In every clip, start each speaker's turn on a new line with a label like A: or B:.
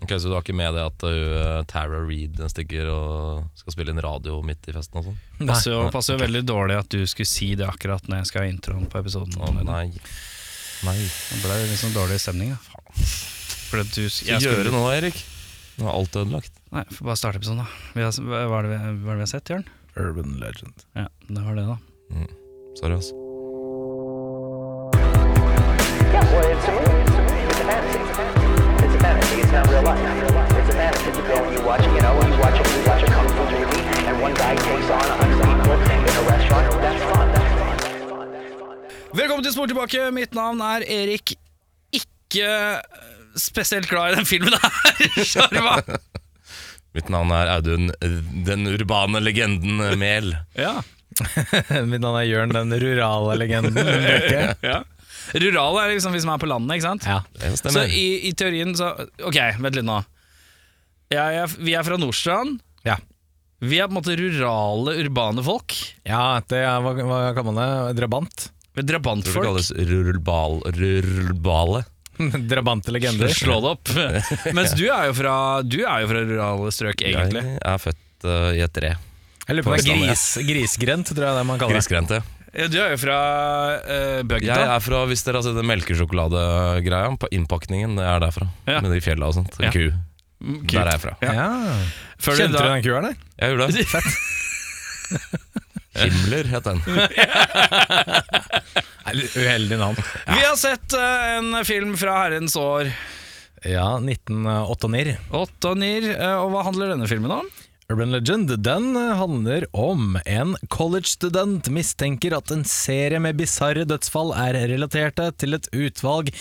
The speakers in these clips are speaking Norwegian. A: Ok, Så du har ikke med det at uh, Tara Reed stikker og skal spille inn radio midt i festen og sånn?
B: Passer jo, passer jo veldig dårlig at du skulle si det akkurat når jeg skal ha introen på episoden.
A: Å, nei. Nei.
B: Det ble liksom dårlig stemning, da. Faen. Fordi at du,
A: Hva
B: jeg
A: skal du gjøre
B: skulle,
A: nå, Erik? Nå er alt ødelagt.
B: nei, får bare starte episoden, da. Vi har, hva, er det vi, hva er det vi har sett, Jørn?
C: Urban legend.
B: Ja, det var det, da.
A: Sorry, ass.
D: Yeah, well, it's a movie. It's a movie. It's a fantasy. It's a fantasy. It's not real life. It's a fantasy. You go and you watch, you know, you watch, you watch a kung fu movie, and one guy takes on a hundred people in a restaurant. That's fun. That's fun. That's fun. That's fun.
B: Velkommen til Spor tilbake. Mitt navn er Erik. Ikke eh, spesielt glad i den filmen her, Sjarma.
A: Mitt navn er Audun, eh, den urbane legenden eh, Mehl.
B: ja,
C: Mitt navn er Jørn, den rurale legenden. Brekke.
B: ja. Rural er liksom vi som er på landet, ikke sant?
C: ja.
A: Det
B: Så
A: stemmer.
B: i, i teorien så Ok, vent litt nå. Jeg er, vi er fra Nordstrand.
C: Ja.
B: Vi er på en måte rurale, urbane folk.
C: ja, det er hva, hva kaller man det? Drabant?
A: Tror du
B: Vi er
A: det
B: drabantfolk.
A: kalles rurbal, rurbale?
C: Drabante legender.
B: Slå det opp. Mens du er jo fra, du er jo fra rurale strøk, egentlig.
A: Jeg er født eh, i et tre.
C: Jeg lurer på om det er
A: Påstand, ja.
C: gris, grisgrendt, tror jeg det man kaller det.
A: Grisgrendte.
B: Ja, du er jo fra uh,
A: Jeg
B: Bøgda.
A: er fra, hvis dere har sett den melkesjokoladegreia på innpakningen, det er derfra.
B: Ja.
A: Med de fjella og sånt. En
B: Ja.
A: ku.
B: Mm,
A: Der
B: kult.
A: er jeg fra.
B: Ja.
C: Ja.
B: Før
C: Kjente
B: da-
C: du den kua der?
A: Jeg gjorde det. Himmler het den.
C: Nei, litt Uheldig navn.
B: Vi har sett eh, en film fra herrens år.
C: Ja, 1989.
B: Åtte og nier. eh, og hva handler denne filmen om?
C: Urban Legend den handler om en college-student mistenker at en serie med bisarre dødsfall er relaterte til et utvalg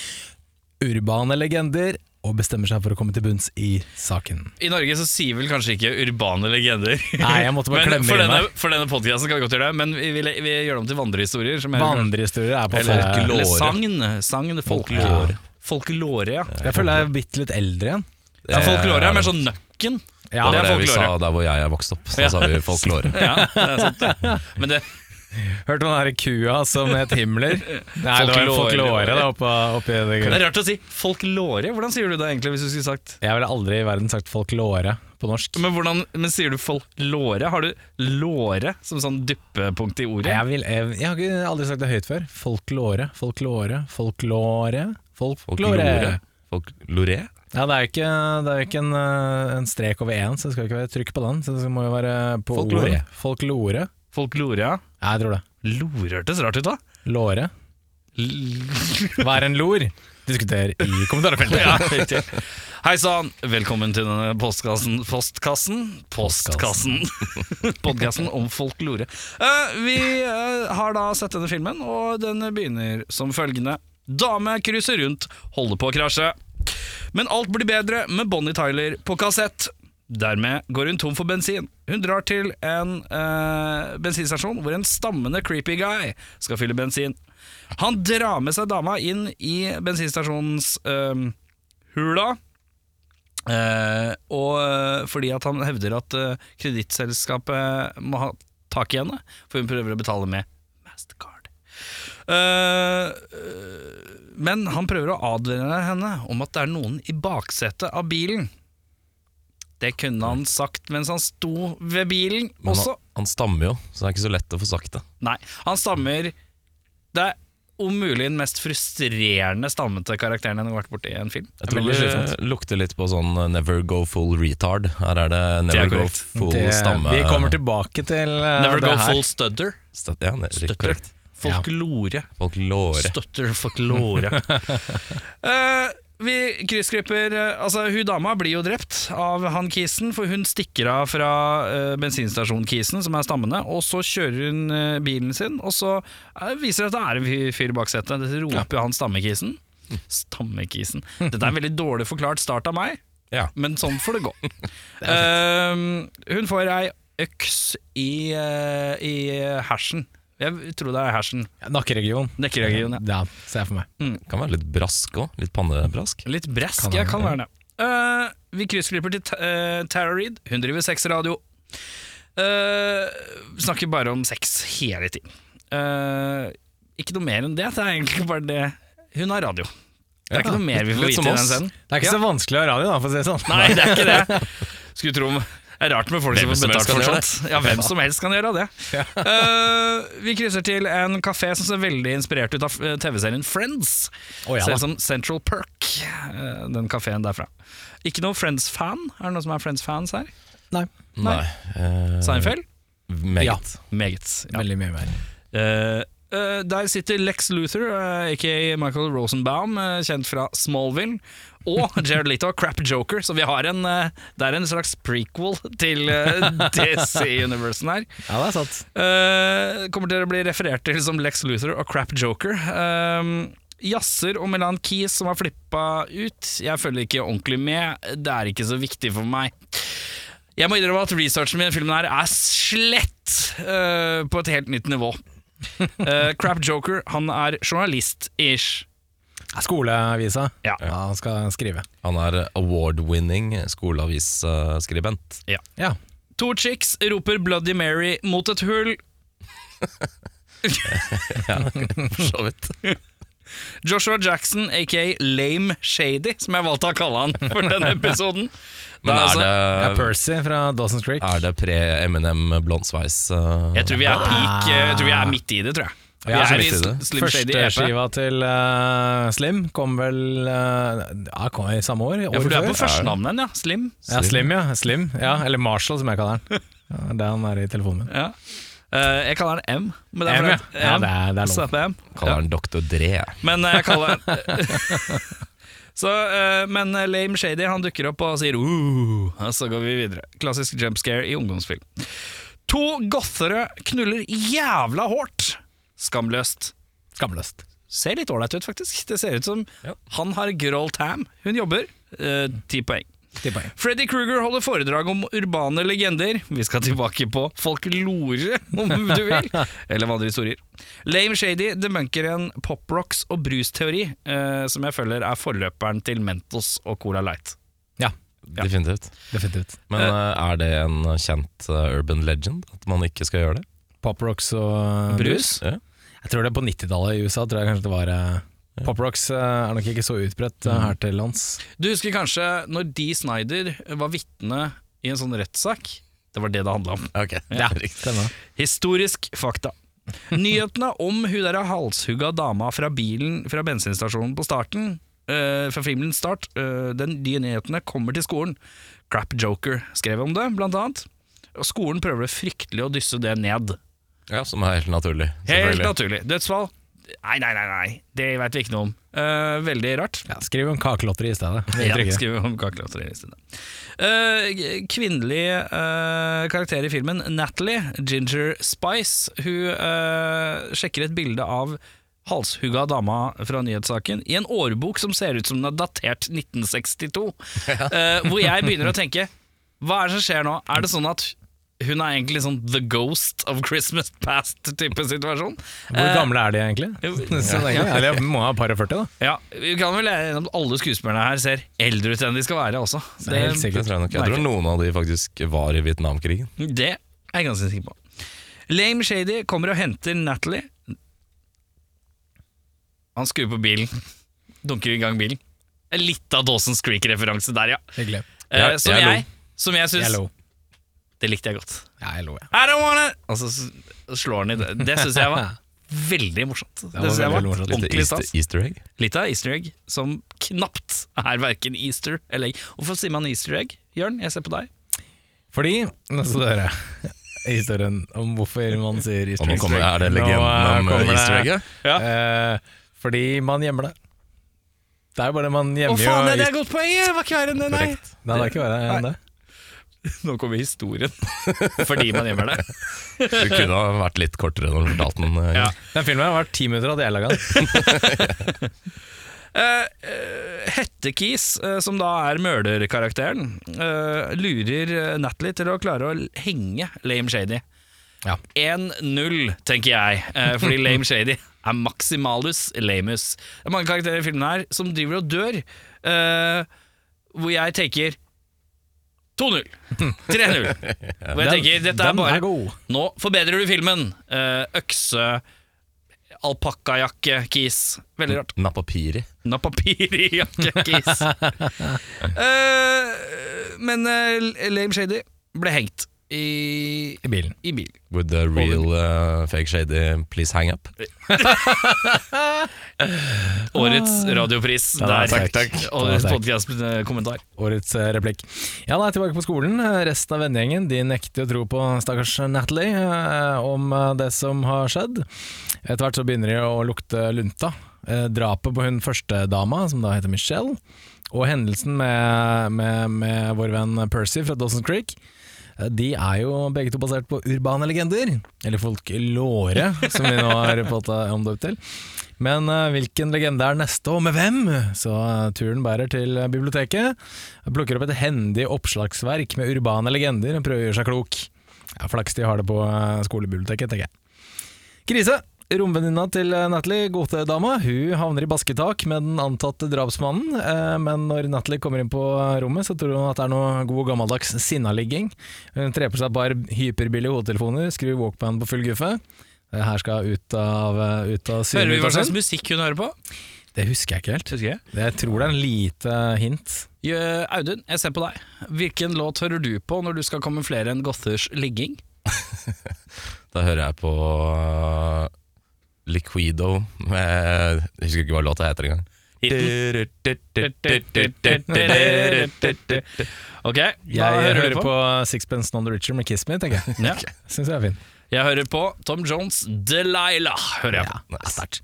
C: urbane legender, og bestemmer seg for å komme til bunns i saken.
B: I Norge så sier vel kanskje ikke urbane legender.
C: Nei, jeg måtte bare
B: men
C: klemme
B: for
C: inn
B: denne,
C: her.
B: for denne podcasten kan vi godt gjøre det, men vi, vi, vi gjør det om til vandrehistorier. Som er-
C: Vandrehistorier er på
B: eller,
C: folk.
B: eller
A: folklore.
B: sagn. Sagn, folklore. Folklore, ja.
C: Jeg føler jeg er bitte litt eldre igjen.
B: ja. Folklore er mer sånn nøkken.
A: det
B: det er
C: Ja,
A: var det vi
B: folklore.
A: sa der hvor jeg er vokst opp. Så
B: Ja.
A: sa vi folklore.
B: Ja, det er sant, det. Men det,
C: Hørte om den her kua som het Himmler? Nei, det var
B: Folklore.
C: folklore da, oppe, oppi det
B: det er rart å si folklore. Hvordan sier du det egentlig hvis du skulle sagt
C: Jeg ville aldri i verden sagt folklore på norsk.
B: men, hvordan, men sier du folklore? Har du låre som sånn duppepunkt i ordet?
C: Nei, Jeg, vil, jeg, jeg har ikke- aldri sagt det høyt før. Folklore, folklore, folklore. Folklore.
A: Folklore. Folklore?
C: Ja, det er jo ikke, det er jo ikke en, eh, en strek over én, så det skal jo ikke være trykk på den. Så det må jo være på
A: Folklore.
C: ordet. Folklore.
B: Folklore, ja.
C: Ja, jeg tror det.
B: Lore hørtes rart ut, da.
C: Låre.
B: L-
C: Hva er en lor? Diskuter i kommentarfeltet.
B: ja, riktig. Hei sann, velkommen til denne postkassen Postkassen? Postkassen. Podkasten om folklore. Eh, vi eh, har da sett denne filmen, og den begynner som følgende. Dame krysser rundt, holder på å krasje. Men alt blir bedre med Bonnie Tyler på kassett. Dermed går hun tom for bensin. Hun drar til en eh, bensinstasjon hvor en stammende creepy guy skal fylle bensin. Han drar med seg dama inn i bensinstasjonens eh, hula. Eh, og eh, fordi at han hevder at eh, kredittselskapet må ha tak i henne, for hun prøver å betale med Mastercard. Eh, eh, men han prøver å advare henne om at det er noen i baksetet av bilen. Det kunne han sagt mens han sto ved bilen
A: Men
B: også.
A: han, han stammer jo, så det er ikke så lett å få sagt det.
B: Nei, han stammer Det er om mulig den mest frustrerende stammete karakteren jeg har vært borti i en film.
A: Jeg tror
B: Veldig slitsomt.
A: det lukter litt på sånn eh, never go full retard. Her er det never
B: er
A: go
B: korrekt.
A: full
C: Det-
A: stamme...
C: Vi kommer tilbake til eh,
B: Never
C: det
B: go
C: her.
B: full studder.
A: Støt, ja, det er
B: Støtter.
A: korrekt.
B: Folklore.
A: Folklore.
B: Støtter folklore. Eh, vi kryssklipper eh, Altså, hun dama blir jo drept av han Kisen, for hun stikker av fra eh, bensinstasjonen Kisen, som er stammende, og så kjører hun eh, bilen sin, og så eh, viser det at det er en fyr- fyr i baksetet. Det roper jo han Stammekisen. Stammekisen. Dette er en veldig dårlig forklart start av meg.
A: Ja.
B: Men sånn får det gå. Eh, hun får ei øks i, eh, i hersen. Jeg tror det er hersen.
C: Nakkeregion.
B: Nekkeregionen, ja.
C: Ja, ser jeg for meg.
A: Kan være litt brask òg. Litt pannebrask.
B: Litt bresk,
C: Kan
B: jeg
C: være,
B: kan
C: ja.
B: være det. Eh, vi kryssklipper til Ta- eh, Tara Reed. Hun driver sexradio. Eh, snakker bare om sex hele tiden. Eh, ikke noe mer enn det. Det er egentlig bare det. Hun har radio. Det er ikke noe mer vi får
A: Litt som
B: vite i den
A: oss.
B: scenen.
C: Det er ikke så vanskelig å ha radio, da, for å si det sånn.
B: Nei, det er ikke det. Skulle tro det er rart med folk som
A: Hvem
B: får
A: som helst
B: betalt
A: kan
B: for
A: gjøre
B: sånt. Ja, hvem som helst kan gjøre det. Eh, vi krysser til en kafé som ser veldig inspirert ut av eh, TV-serien Friends.
C: Å, ja da.
B: ser ut som sånn Central Perk, eh, den kafeen derfra. Ikke noe Friends-fan? Er det noen som er Friends-fans her?
C: Nei.
A: Nei. eh,
B: Seinfeld?
C: Ja,
A: Meget.
B: Meget. Ja.
C: veldig mye mer.
B: Eh, eh, der sitter Lex Luther, eh, aka Michael Rosenbaum, eh, kjent fra Smallville, og Jared Leto, Crap Joker. Så vi har en, eh, det er en slags prequel til eh, DC-universen her.
C: Ja, det er sant.
B: Eh, kommer til å bli referert til som Lex Luther og Crap Joker. Eh, Jazzer og Melan Keys som har flippa ut. Jeg følger ikke ordentlig med. Det er ikke så viktig for meg. Jeg må innrømme at researchen min i filmen her er slett eh, på et helt nytt nivå. Eh, Crap Joker, han er journalist-ish.
C: Skoleavisa.
B: Ja.
C: ja, han skal skrive.
A: Han er award-winning skoleavisskribent.
C: Ja.
B: To chicks roper Bloody Mary mot et hull.
A: For så vidt.
B: Joshua Jackson, aka Lame Shady, som jeg valgte å kalle han for denne episoden.
A: Men
B: Da, altså,
C: Det
A: er
C: er
A: det,
C: Percy fra Dawson's Creek.
A: er det pre-Eminem blond sveis? eh,
B: Jeg tror vi er peak eh, Jeg tror vi er midt i det, tror jeg. Vi
C: Ja, så
B: er i
A: midt i det.
B: Sl- Slim Shady E
C: Første
B: EP.
C: skiva til eh, Slim kom vel eh, Ja, kom i samme år?
B: Ja, for
C: året
B: du er
C: før.
B: på førstenavnet, ja. Slim.
C: Ja, Slim, ja. Slim, ja. Eller Marshall, som jeg kaller den. Ja, det er han er i telefonen min.
B: Ja. Eh, jeg kaller den M. Men det er
C: M, ja.
B: fordi-
C: ja
B: M.
C: det, er, det er
B: Så
C: lov.
B: det er M.
A: Kaller han Dr. Dre.
B: Men eh, jeg kaller den Så, eh, men eh, Lame Shady han dukker opp og sier uh, og så går vi videre. Klassisk jump scare i ungdomsfilm. To gothere knuller jævla hardt. Skamløst.
C: Skamløst.
B: Ser litt ålreit ut, faktisk. Det ser ut som
A: Ja.
B: han har girl tam. Hun jobber. eh, Ti poeng.
C: Ti poeng.
B: Freddy Kruger holder foredrag om urbane legender. Vi skal tilbake på folklore, om du vil. Eller andre historier. Lame Shady debunker en poprocks- og brusteori, eh, som jeg føler er forløperen til Mentos og Cola Light.
C: Ja,
A: Definitivt.
C: definitivt.
A: Men eh, er det en kjent eh, urban legend at man ikke skal gjøre det?
C: Pop Rocks og eh,
B: Brus?
A: Ja.
C: Jeg tror det er på 90-tallet i USA. Tror jeg kanskje det var eh, Pop Rocks eh, er nok ikke så utbredt
B: Mm.
C: eh, her til lands.
B: Du husker kanskje når Dee Snyder var vitne i en sånn rettssak? Det var det det handla om.
A: Ok,
B: Ja.
C: Stemmer.
B: Historisk fakta. Nyhetene om hun der halshugga dama fra bilen fra bensinstasjonen på starten eh, fra filmens start, eh, den, de nyhetene kommer til skolen. Crap Joker skrev om det, blant annet. Og skolen prøver fryktelig å dysse det ned.
A: Ja, Som er helt naturlig.
B: Helt
A: selvfølgelig.
B: naturlig. Dødsfall? Nei, nei, nei, nei. det veit vi ikke noe om. Eh, veldig rart.
C: Ja, skriv om kakelotteri i stedet. Det er
B: Ja,
C: tryggere.
B: skriver om kakelotteri i stedet. Eh, g- kvinnelig eh, karakter i filmen, Natalie Ginger Spice, hun eh, sjekker et bilde av halshugga dama fra nyhetssaken i en årbok som ser ut som den er datert 1962. eh, hvor jeg begynner å tenke Hva er det som skjer nå? Er det sånn at hun er egentlig sånn the ghost of Christmas past-type situasjon?
C: Hvor
B: Eh,
C: gamle er de egentlig?
B: jo,
C: Så lenge. Eller jeg må ha par og 40, da.
B: ja, Vi kan vel være enige om at alle skuespillerne her ser eldre ut enn de skal være også.
C: Det er helt sikkert.
A: Det tror jeg nok. Jeg tror noen av de faktisk var i Vietnamkrigen.
B: Det er jeg ganske sikker på. Lame Shady kommer og henter Natalie. Han skrur på bilen. Dunker i gang bilen. Litt av Dawson's Creek-referanse der, ja.
C: Hyggelig.
B: Eh,
A: Jeg-
B: som
A: jeg lo.
B: jeg, som jeg syns
C: Jeg lo.
B: Det likte jeg godt.
C: Ja, jeg lo, ja.
B: I don't wanna Og så s- slår han i det. Det syns jeg var veldig morsomt. Det
C: var
B: synes jeg
C: veldig
B: var
C: morsomt.
A: Litt
B: ordentlig
A: easter,
B: stas.
A: easter egg.
B: Litt av easter egg som knapt er verken easter eller egg. Hvorfor sier man easter egg? Jørn, jeg ser på deg.
C: Fordi Nå skal du høre historien om hvorfor man sier
A: Og
C: easter
A: nå
C: egg.
A: kommer, er det
C: Nå, eh,
A: legenden om
C: kommer det-
A: easter egget?
C: Eh, fordi man gjemmer det. Det er jo bare man
B: Å
C: gjemmer jo
B: faen, det er
C: easter-
B: et godt poeng! Det var ikke verre enn det, nei.
A: Korrekt.
C: Nei, det er ikke bare enn det.
B: Nå kommer historien. Fordi man gjemmer det.
A: Du kunne ha vært litt kortere når du fortalte den. eh,
B: Ja.
C: Den filmen har vært ti minutter, hadde jeg laga den.
B: Eh, Hettekis, eh, som da er mørderkarakteren, eh, lurer eh, Natalie til å klare å l- henge Lame Shady.
C: Ja.
B: 1-0, tenker jeg, eh, fordi Lame Shady er maximalus lamus. Det er mange karakterer i filmen her som driver og dør, eh, hvor jeg tenker 2-0, 3-0. Hvor jeg tenker dette er
C: den
B: bare
C: er god.
B: Nå forbedrer du filmen. Eh, økse alpakkajakke, kis. Veldig rart.
A: Napapiri.
B: Napapiri-jakke, kis. Eh, men eh, Lame Shady ble hengt i,
C: i bilen.
B: i bil.
A: With the real eh, fake shady, please hang up.
B: Årets radiopris
C: Ah. Ja,
B: der.
C: takk, takk.
B: Årets
C: Ja, takk.
B: podcast-kommentar.
C: Årets eh, replikk. Ja, nei, tilbake på skolen. Eh, Resten av vennegjengen de nekter å tro på stakkars Natalie eh, om eh, det som har skjedd. Etter hvert så begynner de å lukte lunta. Eh, Drapet på hun førstedama, som da heter Michelle, og hendelsen med, med, med vår venn Percy fra Dawson Creek, eh, de er jo begge to basert på urbane legender, eller folklore, som vi nå har fått eh, omdøpt til. Men eh, hvilken legende er neste, og med hvem? Så eh, turen bærer til eh, biblioteket. Jeg plukker opp et hendig oppslagsverk med urbane legender og prøver å gjøre seg klok. Ja, Flaks de har det på eh, skolebiblioteket, tenker jeg. Krise! Romvenninna til eh, Natalie, godtedama, hun havner i basketak med den antatte drapsmannen. eh, Men når Natalie kommer inn på eh, rommet, så tror hun at det er noe god gammeldags sinnaligging. Hun trer på seg et par hyperbillige hodetelefoner, skrur walkman på full guffe. Det her skal ut av, eh, ut av
B: Hører vi
C: synet.
B: hva slags musikk hun hører på?
C: Det husker jeg ikke helt.
B: Husker jeg.
C: Jeg tror det er en lite hint.
B: Jø, Audun, jeg ser på deg. Hvilken låt hører du på når du skal kamuflere en gothers ligging?
A: Da hører jeg på eh, Liquido med Jeg husker ikke hva låta heter engang.
B: Ok, da
C: Jeg hører,
B: du
C: på. Sixpence Non The Richer med Kiss Me, tenker jeg.
B: Ja.
C: Syns jeg er fin.
B: Jeg hører på Tom Jones' Delilah. Hører jeg på.
C: Sterkt.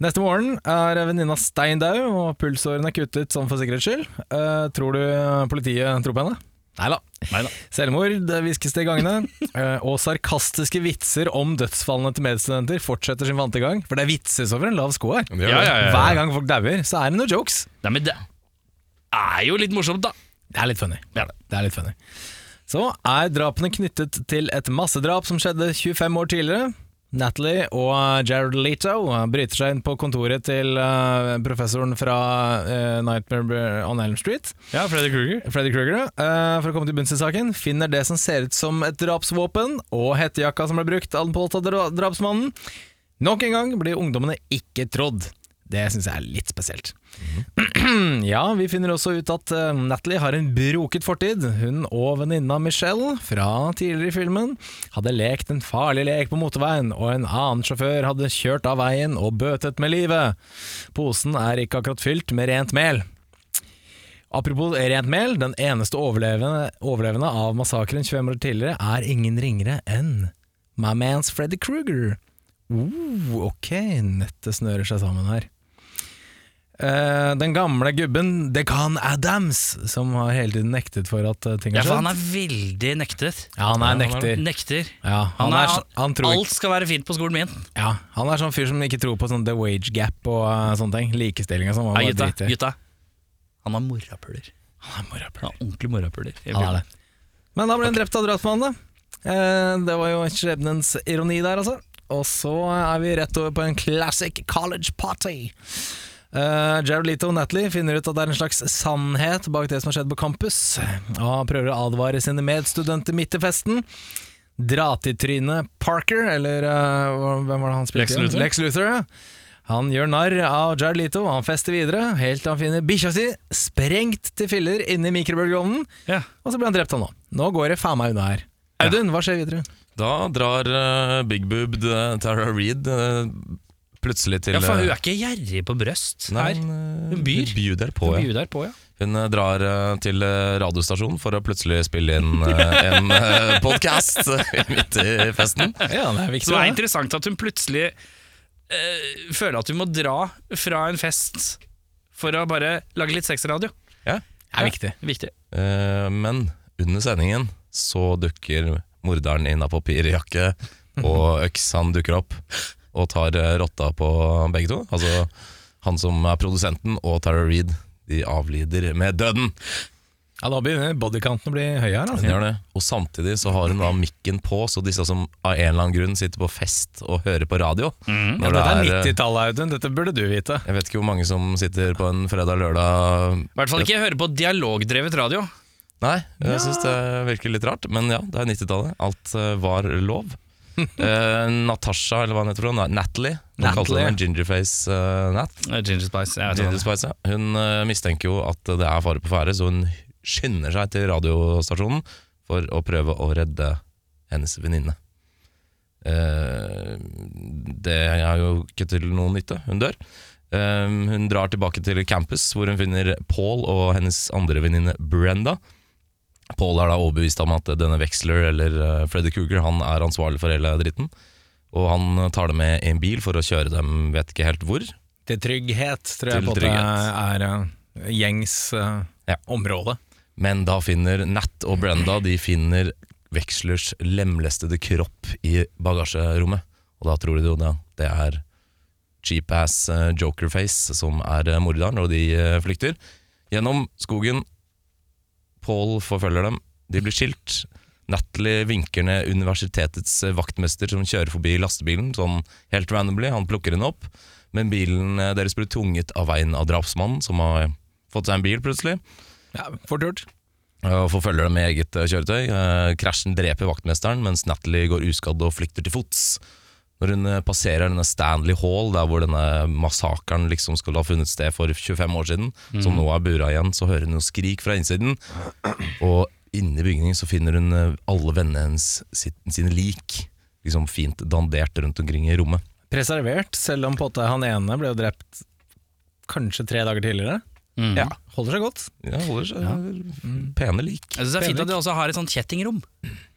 C: Neste morgen er venninna stein dau, og pulsårene er kuttet sånn for sikkerhets skyld. Eh, tror du politiet tror på henne? Nei da.
B: Neida.
C: Selvmord det hviskes det i gangene. eh, og sarkastiske vitser om dødsfallene til medstudenter fortsetter sin vante gang. For det vitses over en lav sko her.
A: Det gjør Ja, det. ja, ja, ja.
C: Hver gang folk dauer, så er det noen jokes.
B: Nei, men det er jo litt morsomt, da.
C: Det er litt funny.
B: Ja.
C: Det er litt funny. Så er drapene knyttet til et massedrap som skjedde 25 år tidligere. Natalie og Jared Leto bryter seg inn på kontoret til eh, professoren fra eh, Nightmare on Elm Street,
B: Ja, Freddy Kruger.
C: Freddy Krueger, eh, for å komme til bunns i saken. Finner det som ser ut som et drapsvåpen, og hettejakka som ble brukt av den påtatte dra- drapsmannen. Nok en gang blir ungdommene ikke trodd. Det syns jeg er litt spesielt. ja, vi finner også ut at eh, Natalie har en broket fortid. Hun og venninna Michelle fra tidligere i filmen hadde lekt en farlig lek på motorveien, og en annen sjåfør hadde kjørt av veien og bøtet med livet. Posen er ikke akkurat fylt med rent mel. Apropos rent mel, den eneste overlevende, overlevende av massakren 25 år tidligere er ingen ringere enn My Man's Freddy Krueger. Uh, ok, nettet snører seg sammen her. Eh, den gamle gubben Dekan Adams, som har hele tiden nektet for at eh, ting
B: Ja,
C: har
B: for han
C: skjedd.
B: er veldig nektet.
C: Ja, han er nekter.
B: Nekter.
C: Ja, han, er, så- han tror
B: alt skal være fint på skolen min.
C: Ja, han er sånn fyr som ikke tror på sånn the wage gap og eh, sånne ting. Likestilling og sånn.
B: Nei, gutta, gutta. Han har morapuler.
C: Han er morapuler.
B: Han har ordentlig morapuler. Jeg
C: Han er det. Men da ble han drept av drapsmannen, da. Eh, Det var jo skjebnens ironi der, altså. Og så er vi rett over på en classic college party. Uh, Jared Leto og Natalie finner ut at det er en slags sannhet bak det som har skjedd på campus, og han prøver å advare sine medstudenter midt i festen. Dra til trynet Parker, eller eh, hva- hvem var det han spilte?
B: Lex
C: igjen?
B: Luthor.
C: Lex Luthor, ja. Han gjør narr av Jared Leto, og han fester videre, helt til han finner bikkja si sprengt til filler inne i mikrobølgeovnen.
B: Ja.
C: Og så ble han drept, han òg. Nå går det faen meg unna her. Audun, hva skjer videre?
A: Da drar eh, big boobed eh, Tara Reid eh, plutselig til
B: Ja, for hun
A: eh,
B: er ikke gjerrig på brøst
A: Nei,
B: her.
A: eh,
B: Hun byr.
A: bjuder på,
B: Hun
A: ja.
B: byr der på, ja.
A: Hun eh, drar eh, til eh, radiostasjonen for å plutselig spille inn eh, en podkast midt i festen.
C: Ja,
B: Så
C: det er
B: det er
C: viktig.
B: interessant at hun plutselig eh, føler at hun må dra fra en fest for å bare lage litt sexradio.
A: Ja.
C: Det er viktig.
B: Viktig.
A: Eh, Men under sendingen så dukker morderen inn av papirjakke, og øks han dukker opp og tar eh, rotta på begge to. Altså han som er produsenten og Tara Reid. De avlider med døden.
C: Ja, da begynner bodycounten å bli høy her.
A: Hun
C: Altså.
A: gjør det. Og samtidig så har hun da mikken på, så disse som av en eller annen grunn sitter på fest og hører på radio
B: Mm.
A: når
C: Dette er
A: det er, eh,
C: 90-tallet, Audun. Dette burde du vite.
A: Jeg vet ikke hvor mange som sitter på en fredag-lørdag
B: I hvert fall ikke høre på dialogdrevet radio.
A: Nei, jeg synes det virker litt rart, men ja, det er 90-tallet. Alt eh, var lov. Eh, Natasha, eller hva hun heter for noe? Natalie. Hun
C: Natalie,
A: kalte henne Gingerface eh, Nat.
B: Eh, Ginger Spice. Jeg vet
A: Ginger
B: ikke.
A: Spice, ja. Hun eh, mistenker jo at det er fare på ferde, så hun skynder seg til radiostasjonen for å prøve å redde hennes venninne. Eh, det er jo ikke til noen nytte. Hun dør. Eh, hun drar tilbake til campus, hvor hun finner Paul og hennes andre venninne Brenda. Paul er da overbevist om at denne Wexler, eller eh, Freddy Kruger, han er ansvarlig for hele dritten. Og han tar dem med i en bil for å kjøre dem vet ikke helt hvor.
C: Til trygghet, tror jeg
A: Til
C: på at det
A: trygghet.
C: er eh, gjengs eh,
A: Ja.
C: område.
A: Men da finner Nat og Brenda De finner Vekslers lemlestede kropp i bagasjerommet. Og da tror de jo det, det er cheap-ass eh, Jokerface som er eh, morderen, og de eh, flykter. Gjennom skogen. Paul forfølger dem. De blir skilt. Natalie vinker ned universitetets eh, vaktmester som kjører forbi lastebilen sånn helt randomly. Han plukker henne opp, men bilen eh, deres blir tvunget av veien av drapsmannen, som har fått seg en bil plutselig
C: Ja, Fort gjort.
A: Eh, og forfølger dem med eget eh, kjøretøy. Eh, Krasjen dreper vaktmesteren, mens Natalie går uskadd og flykter til fots. Når hun eh, passerer denne Stanley Hall, der hvor denne massakren liksom skulle ha funnet sted for 25 år siden,
B: Mhm.
A: som nå er bura igjen, så hører hun noe skrik fra innsiden. Og inne i bygningen så finner hun eh, alle vennene hennes sitt- sine lik, liksom fint dandert rundt omkring i rommet.
C: Preservert, selv om på en måte han ene ble jo drept kanskje tre dager tidligere.
B: Mm.
C: Ja, Holder seg godt.
A: Ja, holder seg pene lik.
B: Jeg synes det er fint at de også har et sånt kjettingrom.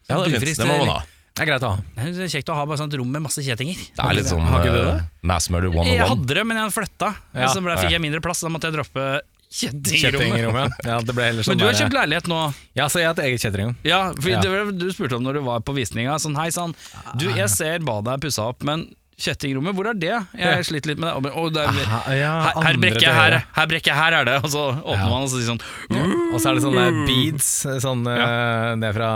A: Ja, det er fint. Det må man ha.
C: Det er greit å ha.
B: Jeg synes Det er kjekt å ha bare et sånt rom med masse kjettinger.
A: Det er litt sånn
B: Har ikke du
A: eh,
B: det?
A: Mass Murder one
B: Jeg
A: on one.
B: hadde det, men jeg hadde flytta.
C: Ja.
B: Så ble, fikk jeg mindre plass, så da måtte jeg droppe kjettingrommet.
C: Kjettingrommet. Ja, det ble heller sånn
B: Men du har
C: der-
B: kjøpt leilighet nå.
C: Ja, så jeg har et eget kjettingrom.
B: Ja, for
C: Ja.
B: Det, var- Du spurte om når du var på visninga. Sånn, hei sann, du, jeg ser badet er pussa opp, men kjettingrommet, hvor er det? Jeg sliter litt med det. Og det er,
C: Aha, ja,
B: her, her
C: andre
B: brekker jeg,
C: til
B: her,
C: høyre.
B: her brekker jeg, her er det. Og så åpner
C: Ja.
B: man og så sier sånn
C: Og så er det sånne beads sånn, eh, ned fra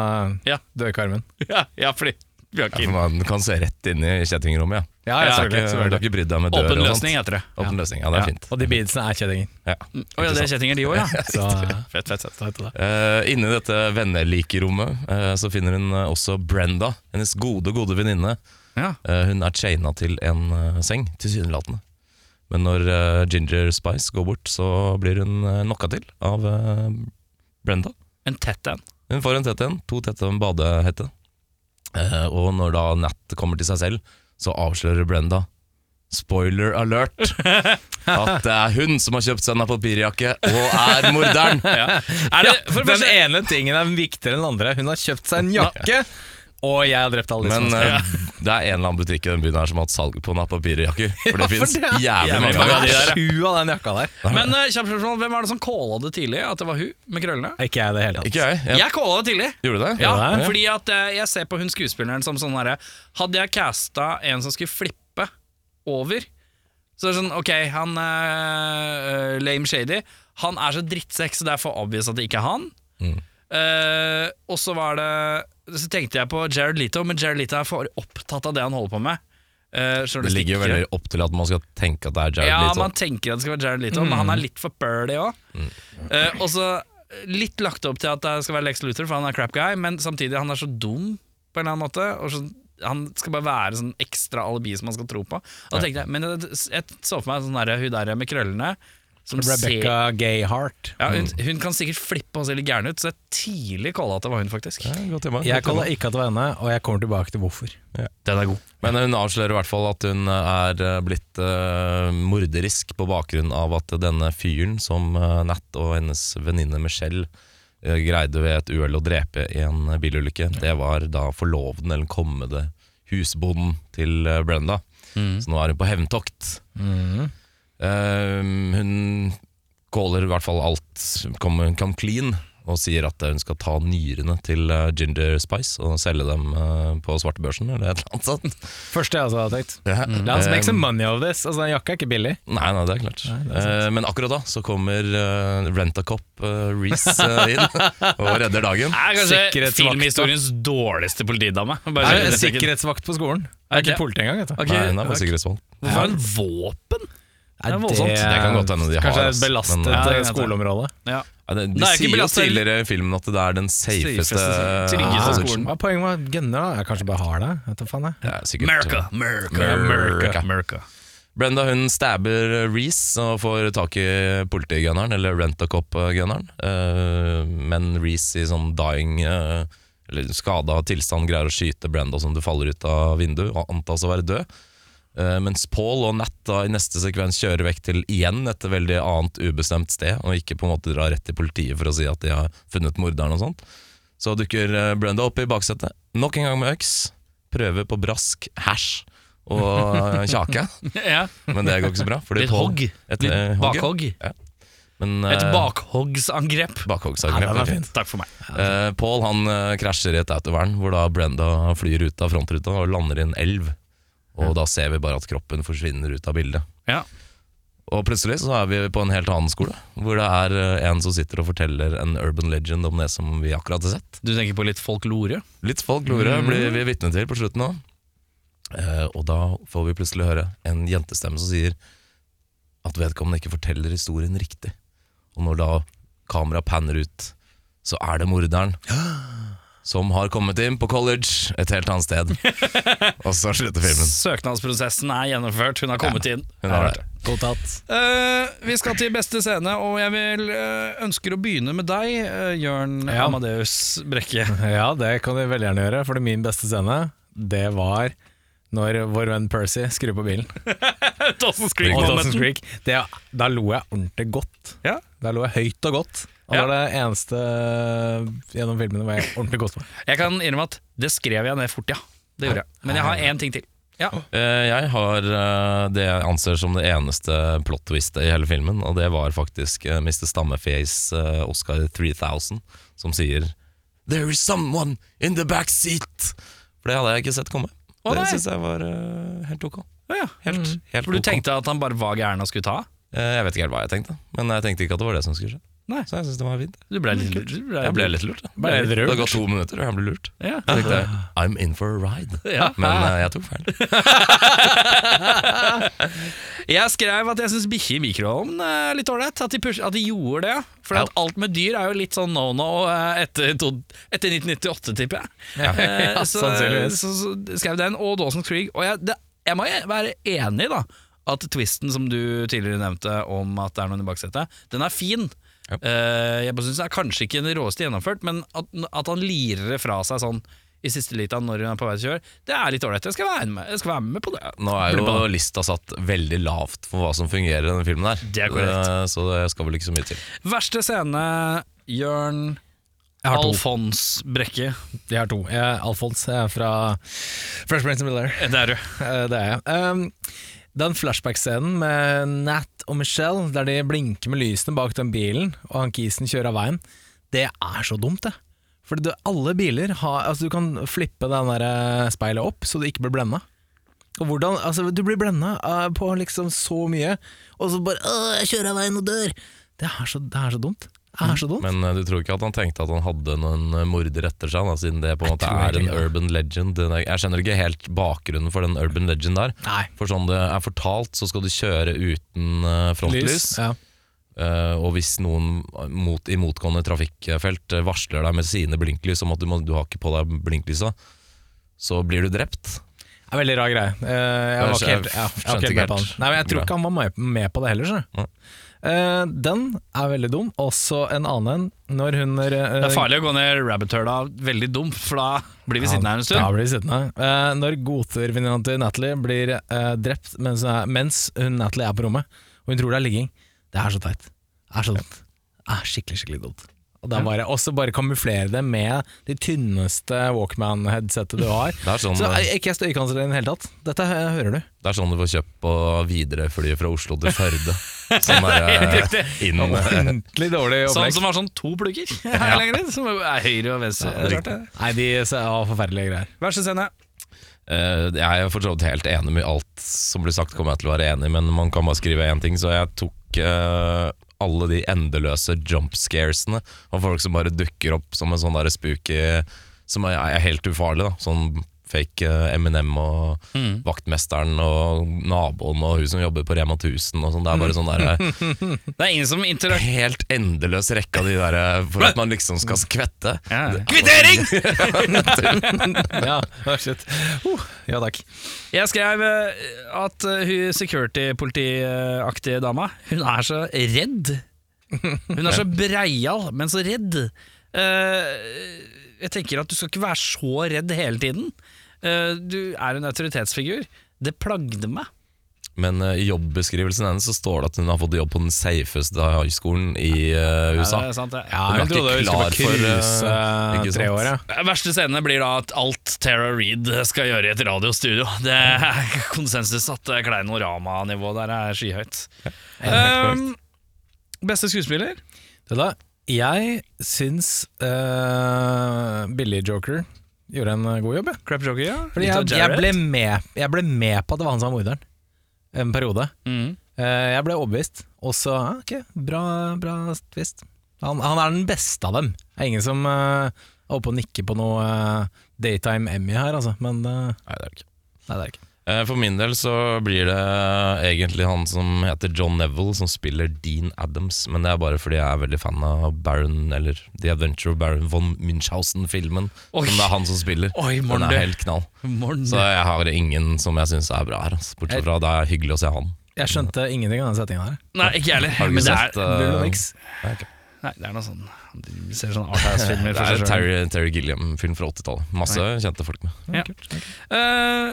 B: Ja.
C: dørkarmen.
B: Ja, ja fordi vi har
A: Ja,
B: ikke
A: for man kan se rett inn i kjettingrommet, ja.
C: Ja,
B: Ja,
C: ja,
A: Du har
C: selvfølgelig,
A: ikke- Du har
C: selvfølgelig.
A: ikke brydd deg med dør
B: Åpen
A: og
B: løsning,
A: sånt.
B: heter det.
A: Åpen løsning, ja, det er
C: Ja,
A: fint.
C: Og de beadsene er kjettinger.
A: Ja.
B: Å ja, det er kjettinger, de òg, ja.
C: Så
B: Fett, fett, fett.
C: takk til deg.
A: Eh, Inne i dette vennelikerommet eh, så finner hun eh, også Brenda, hennes gode, gode venninne.
B: Ja.
A: Eh, hun er chaina til en eh, seng, tilsynelatende. Men når eh, Ginger Spice går bort, så blir hun eh, knocka til av eh, Brenda.
B: En tett en.
A: Hun får en tett en, to tette og en badehette. Eh, og når da Nat kommer til seg selv, så avslører Brenda Spoiler alert! At det er hun som har kjøpt seg en papirjakke og er morderen!
B: Er det, for det
C: Den
B: første,
C: ene tingen er viktigere enn den andre. Hun har kjøpt seg en jakke, og jeg har drept alle de
A: Men
C: som
A: eh, det er en eller annen butikk i den byen her som har hatt salg på napapirjakker. For det fins
C: det er-
A: jævlig mange
B: mange
A: av
B: av
A: de
B: de
A: der.
B: der,
C: Sju av den jakka der.
B: men eh, kjapt spørsmål, hvem var det som calla det tidlig? At det var hun med krøllene?
C: Er Ikke jeg i det hele tatt.
A: Ikke jeg. jeg.
B: Jeg calla det tidlig.
A: Gjorde du det?
B: Ja,
C: Ja, ja.
B: fordi at eh, jeg ser på hun skuespilleren som sånn herre Hadde jeg casta en som skulle flippe over Så er det sånn, ok, han eh, eh, Lame Shady Han er så drittsekk, så det er for obvious at det ikke er han Eh, Og så var det Så tenkte jeg på Jared Leto Men Jared Leto er for opptatt av det han holder på med Eh,
A: Det ligger jo
B: journalistikk.
A: veldig opp til at man skal tenke at det er Jared
B: Ja,
A: Leto.
B: man tenker at det skal være Jared Leto, men han er litt for burly òg. og så eh, litt lagt opp til at det skal være Lex Luthor, for han er crap guy, men samtidig han er så dum på en eller annen måte. Og så, han skal bare være sånn ekstra alibi som man skal tro på. Og da tenkte jeg, Men jeg, jeg så for meg sånn der, hun der med krøllene som
C: Rebecca
B: ser
C: Gayheart.
B: ja, hun, hun kan sikkert flippe og se litt gæren ut, så jeg tidlig kalla at det var hun, faktisk.
A: Ja, godt tema, godt
C: Jeg
A: tema.
C: kaller ikke at det var henne, og jeg kommer tilbake til hvorfor.
B: Den er god.
A: Men hun avslører i hvert fall at hun er eh, blitt eh, morderisk på bakgrunn av at denne fyren som eh, Nat og hennes venninne Michelle eh, greide ved et uhell å drepe i en bilulykke, det var da forloveden eller kommende husbonden til eh, Brenda. Så nå er hun på hevntokt. Eh, hun caller i hvert fall alt come, come clean og sier at hun skal ta nyrene til eh, Ginger Spice og selge dem eh, på svartebørsen eller et eller annet sånt.
C: Første jeg også hadde tenkt.
A: Ja.
C: La oss
A: Eh,
C: make some money of this. Altså, den jakka er ikke billig.
A: Nei, nei, det er klart.
C: det er sant.
A: Eh, men akkurat da så kommer uh, Rentacop uh, Reece eh, inn og redder dagen.
B: Er kanskje
C: Sikkerhetsvakta.
B: filmhistoriens dårligste politidame. Bare
C: Er
B: så
C: det
B: det ikke-
C: sikkerhetsvakt på skolen?
B: Er
C: Er
B: det
C: ikke
B: det?
C: politi engang, vet du.
B: Ok,
A: Nei, hun er på sikkerhetsvånd.
B: Hvorfor har hun våpen?
C: Er
B: voldsomt.
A: Det kan godt hende de har,
C: Kanskje det er
A: ass,
C: et belastet
A: men,
B: Ja, det
C: eh,
B: kan hende.
C: skoleområde.
B: Ja
A: Ja, det, de
B: Nei, ikke
A: sier jo
B: billett til-
A: tidligere i filmen at det er den safeste
B: Safeste, tryggeste
A: Ah,
B: skolen.
C: Hva er poenget med gunner? da? Jeg kanskje bare har det. Vet du faen jeg.
A: det er sikkert-
B: America, America,
A: America.
B: America, America.
A: Brenda hun stabber eh, Reece og får tak i politigunneren, eller rent-a-cop-gunneren. Eh, men Reece i sånn dying eh, eller skada tilstand greier å skyte Brenda som du faller ut av vinduet, og antas å være død. Eh, mens Paul og Nat da, i neste sekvens kjører vekk til igjen et veldig annet ubestemt sted, og ikke på en måte drar rett til politiet for å si at de har funnet morderen og sånt. Så dukker eh, Brenda opp i baksetet, nok en gang med øks, prøver på brask, hæsj og eh, kjake.
B: Ja.
A: Men det går ikke så bra. fordi
B: Litt
A: Paul-
B: hogg.
A: Et,
B: Litt
A: eh, hogg, ja.
B: bakhogg.
A: Men,
B: Et
A: eh,
B: bakhoggsangrep.
A: bakhoggsangrep,
B: Ja, den er
A: ok.
B: fin. Takk for meg.
A: Eh, Paul han eh, krasjer i et autovern, hvor da Brenda flyr ut av frontruta og lander i en elv. Og da ser vi bare at kroppen forsvinner ut av bildet.
B: Ja.
A: Og plutselig så er vi på en helt annen skole, hvor det er eh, en som sitter og forteller en urban legend om det som vi akkurat har sett.
B: Du tenker på litt folklore?
A: Litt folklore blir vi vitne til på slutten òg. Eh, og da får vi plutselig høre en jentestemme som sier at vedkommende ikke forteller historien riktig. Og når da kameraet panner ut, så er det morderen som har kommet inn på college et helt annet sted. og så slutter filmen.
B: Søknadsprosessen er gjennomført. Hun har kommet inn.
A: Hun er der.
C: Godtatt.
B: Eh, vi skal til beste scene, og jeg vil, eh, ønsker å begynne med deg, eh, Jørn
C: Ja.
B: Amadeus Brekke.
C: Ja, det kan du veldig gjerne gjøre, for min beste scene, det var når vår venn Percy skrur på bilen.
B: Dawson's
A: Creek.
C: Og
A: Ikke
C: Dawson's Creek. Det, da lo jeg ordentlig godt.
B: Ja.
C: Da lo jeg høyt og godt. Og
B: Ja.
C: Det var det eneste gjennom filmene hvor jeg ordentlig godt var.
B: Jeg kan innrømme at det skrev jeg ned fort, ja. Det gjorde jeg. Men jeg har én ting til. Ja.
A: Eh, jeg har eh, det jeg anser som det eneste plot-twistet i hele filmen, og det var faktisk eh, Mr. Stammeface eh, Oscar 3000, som sier There is someone in the back seat! For det hadde jeg ikke sett komme.
B: Å,
A: det
B: nei.
A: syns jeg var eh, helt ok.
B: ja.
A: Helt, helt
B: For du
A: ok.
B: tenkte at han bare var gæren og skulle ta? av?
A: Eh, jeg vet ikke helt hva jeg tenkte, men jeg tenkte ikke at det var det som skulle skje.
B: Nei.
A: Så jeg syns det var fint.
B: Du ble litt lurt. du
A: Jeg ble litt lurt. da.
C: Ble litt
A: Det
C: rørt.
A: hadde gått to minutter, og jeg ble lurt.
B: Ja.
A: Så tenkte jeg I'm in for a ride.
B: Ja.
A: Men eh, jeg tok feil.
B: Jeg skrev at jeg syns bikkje i mikroovnen er litt ålreit. At, de push- at de gjorde det. For at alt med dyr er jo litt sånn no no etter, to- etter 1998, tipper jeg. Eh, så,
C: sannsynligvis.
B: så, så skrev den, og Dawson's Creek. Og jeg, det, jeg må jo være enig, da. At twisten som du tidligere nevnte om at det er noen i baksetet, den er fin.
A: Ja.
B: Eh, jeg bare synes det er kanskje ikke den råeste gjennomført, men at, at han lirer det fra seg sånn i siste lita når hun er på vei til å kjøre, det er litt ålreit. Jeg, skal være med- jeg skal være med på det.
A: Nå er
B: Blir
A: jo
B: bra.
A: lista satt veldig lavt for hva som fungerer i denne filmen. her
B: Det er korrekt.
A: Eh, Så det skal vel ikke så mye til.
B: Verste scene, Jørn
C: Jeg har to.
B: Alfons Brekke.
C: Jeg har to. Jeg, Alfons jeg er fra Fresh Prince of Bel-Air.
B: Det er du.
C: Eh, Det er jeg. Ehm, den flashback-scenen med Nat og Michelle, der de blinker med lysene bak den bilen, og han kisen kjører av veien, det er så dumt, det. For det, alle biler har Altså, du kan flippe den der eh, speilet opp, så du ikke blir blenda. Og hvordan Altså, du blir blenda eh, på liksom så mye, og så bare Åh, jeg kjører av veien og dør! Det er så, det er så dumt. Det er så dumt.
A: Men eh, du tror ikke at han tenkte at han hadde noen eh, morder etter seg, da, siden det på en måte
C: tror
A: er en
C: egentlig det.
A: urban legend? Den er- Jeg skjønner ikke helt bakgrunnen for den urban legend der.
C: Nei.
A: For sånn det er fortalt, så skal du kjøre uten eh, frontlys.
C: Ja.
A: Eh, og hvis noen eh, mot, i motgående trafikkfelt eh, varsler deg med sine blinklys om at du, må, du har ikke på deg blinklysa, så blir du drept.
C: Det er veldig rar greie. Eh, jeg var
A: Jeg
C: ikke helt, ja, jeg var
A: skjønte
C: ikke helt
A: ikke
C: med på den.
A: helt.
C: Nei, men jeg tror ikke han var med- med på det heller. Så.
A: Nei.
C: Eh, den er veldig dum. Også en annen en. Når hun eh,
B: Det er farlig å gå ned rabbit-høla veldig dumt, for da blir vi sittende her en
C: Ja,
B: stund.
C: blir sittende. Eh, når godtervenninna til Natalie blir eh, drept mens, hun er- mens hun, Natalie er på rommet, og hun tror det er ligging. Det er så teit. Det er så dumt. Det er skikkelig, skikkelig dumt. Og det er bare, også bare kamuflere det med de tynneste Walkman-headsetet du har.
A: Det er sånn,
C: Så
A: eh,
C: eh, ikke støykanseller i det hele tatt. Dette eh, hører du.
A: Det er sånn du får kjøpt på Widerøe-flyet fra Oslo til Førde. Sånn er
B: Helt
A: eh, inn eh,
C: Ordentlig dårlig
B: Sånn
C: opplegg.
B: som har sånn to plugger her lenger inn, som er høyre og
A: Ja,
B: venstre.
A: det er riktig.
C: Nei, de var forferdelige greier.
B: Verste scene.
A: Eh, Jeg er for så vidt helt enig med alt som blir sagt, kommer jeg til å være enig i, men man kan bare skrive én ting. Så jeg tok eh, alle de endeløse jumpscaresene av folk som bare dukker opp som en sånn der spooky Som er, er helt ufarlig, da. Sånn fake eh, Eminem og vaktmesteren og naboen og hun som jobber på Rema 1000 og sånn. Det er bare sånn der,
B: Det er ingen som
A: eh,
B: interagerer
A: helt endeløs rekke av de der eh, for at man liksom skal skvette.
B: Ja.
A: Kvittering!
C: Ja, oh, shit. Uh, ja takk.
B: Jeg skrev eh, at eh, hun security-politiaktige dama Hun er så redd. Hun er så breial, men så redd. Eh, jeg tenker at du skal ikke være så redd hele tiden. Eh, du er en autoritetsfigur. Det plagde meg.
A: Men eh, i jobbbeskrivelsen hennes så står det at hun har fått jobb på den safeste høyskolen i eh, USA.
B: Er det sant, det?
C: Ja,
A: Hun
C: jeg
A: er ikke
C: trodde vi
A: klar
C: skulle
A: for, eh,
C: cruise
A: ikke sant?
C: treåret.
B: Verste scene blir da at alt Tara Reid skal gjøre i et radiostudio. Det er konsensus at Kleinorama-nivået der er skyhøyt. Um, beste skuespiller?
C: Ehm, Vet du hva? Jeg syns eh, Billy Joker gjorde en eh, god jobb, jeg.
B: Crap Joker, ja.
C: Fordi jeg, jeg, ble med, jeg ble med på at det var han som var morderen en periode.
B: Mm.
C: Eh, jeg ble overbevist, og så ja, ok, bra, bra twist. Han, han er den beste av dem. Det er ingen som eh, er oppe og nikker på noe eh, Daytime Emmy her, altså. Men eh,
A: Nei, det er det ikke.
C: nei, det er det ikke.
A: Eh, For min del så blir det egentlig han som heter John Neville, som spiller Dean Adams. Men det er bare fordi jeg er veldig fan av Baron, eller The Adventure of Baron von Munchhausen-filmen.
B: Oi.
A: Som det er han som spiller.
B: Oi,
A: Den
B: morgen,
A: er helt knall.
B: morgen.
A: Så jeg har ingen som jeg syns er bra her. Altså. Bortsett fra det er hyggelig å se han.
C: Jeg skjønte ingenting av den settingen her.
B: Nei, ikke jeg heller.
A: Har du
B: Men det
A: sett
B: er,
A: eh,
C: Null og niks.
A: nei, ok.
B: nei, det er noe sånn Du ser sånn Arthouse-filmer
A: Det er
B: for seg selv.
A: Terry, Terry Gilliam-film fra 80-tallet. Masse kjente folk med.
B: Ja. Eh,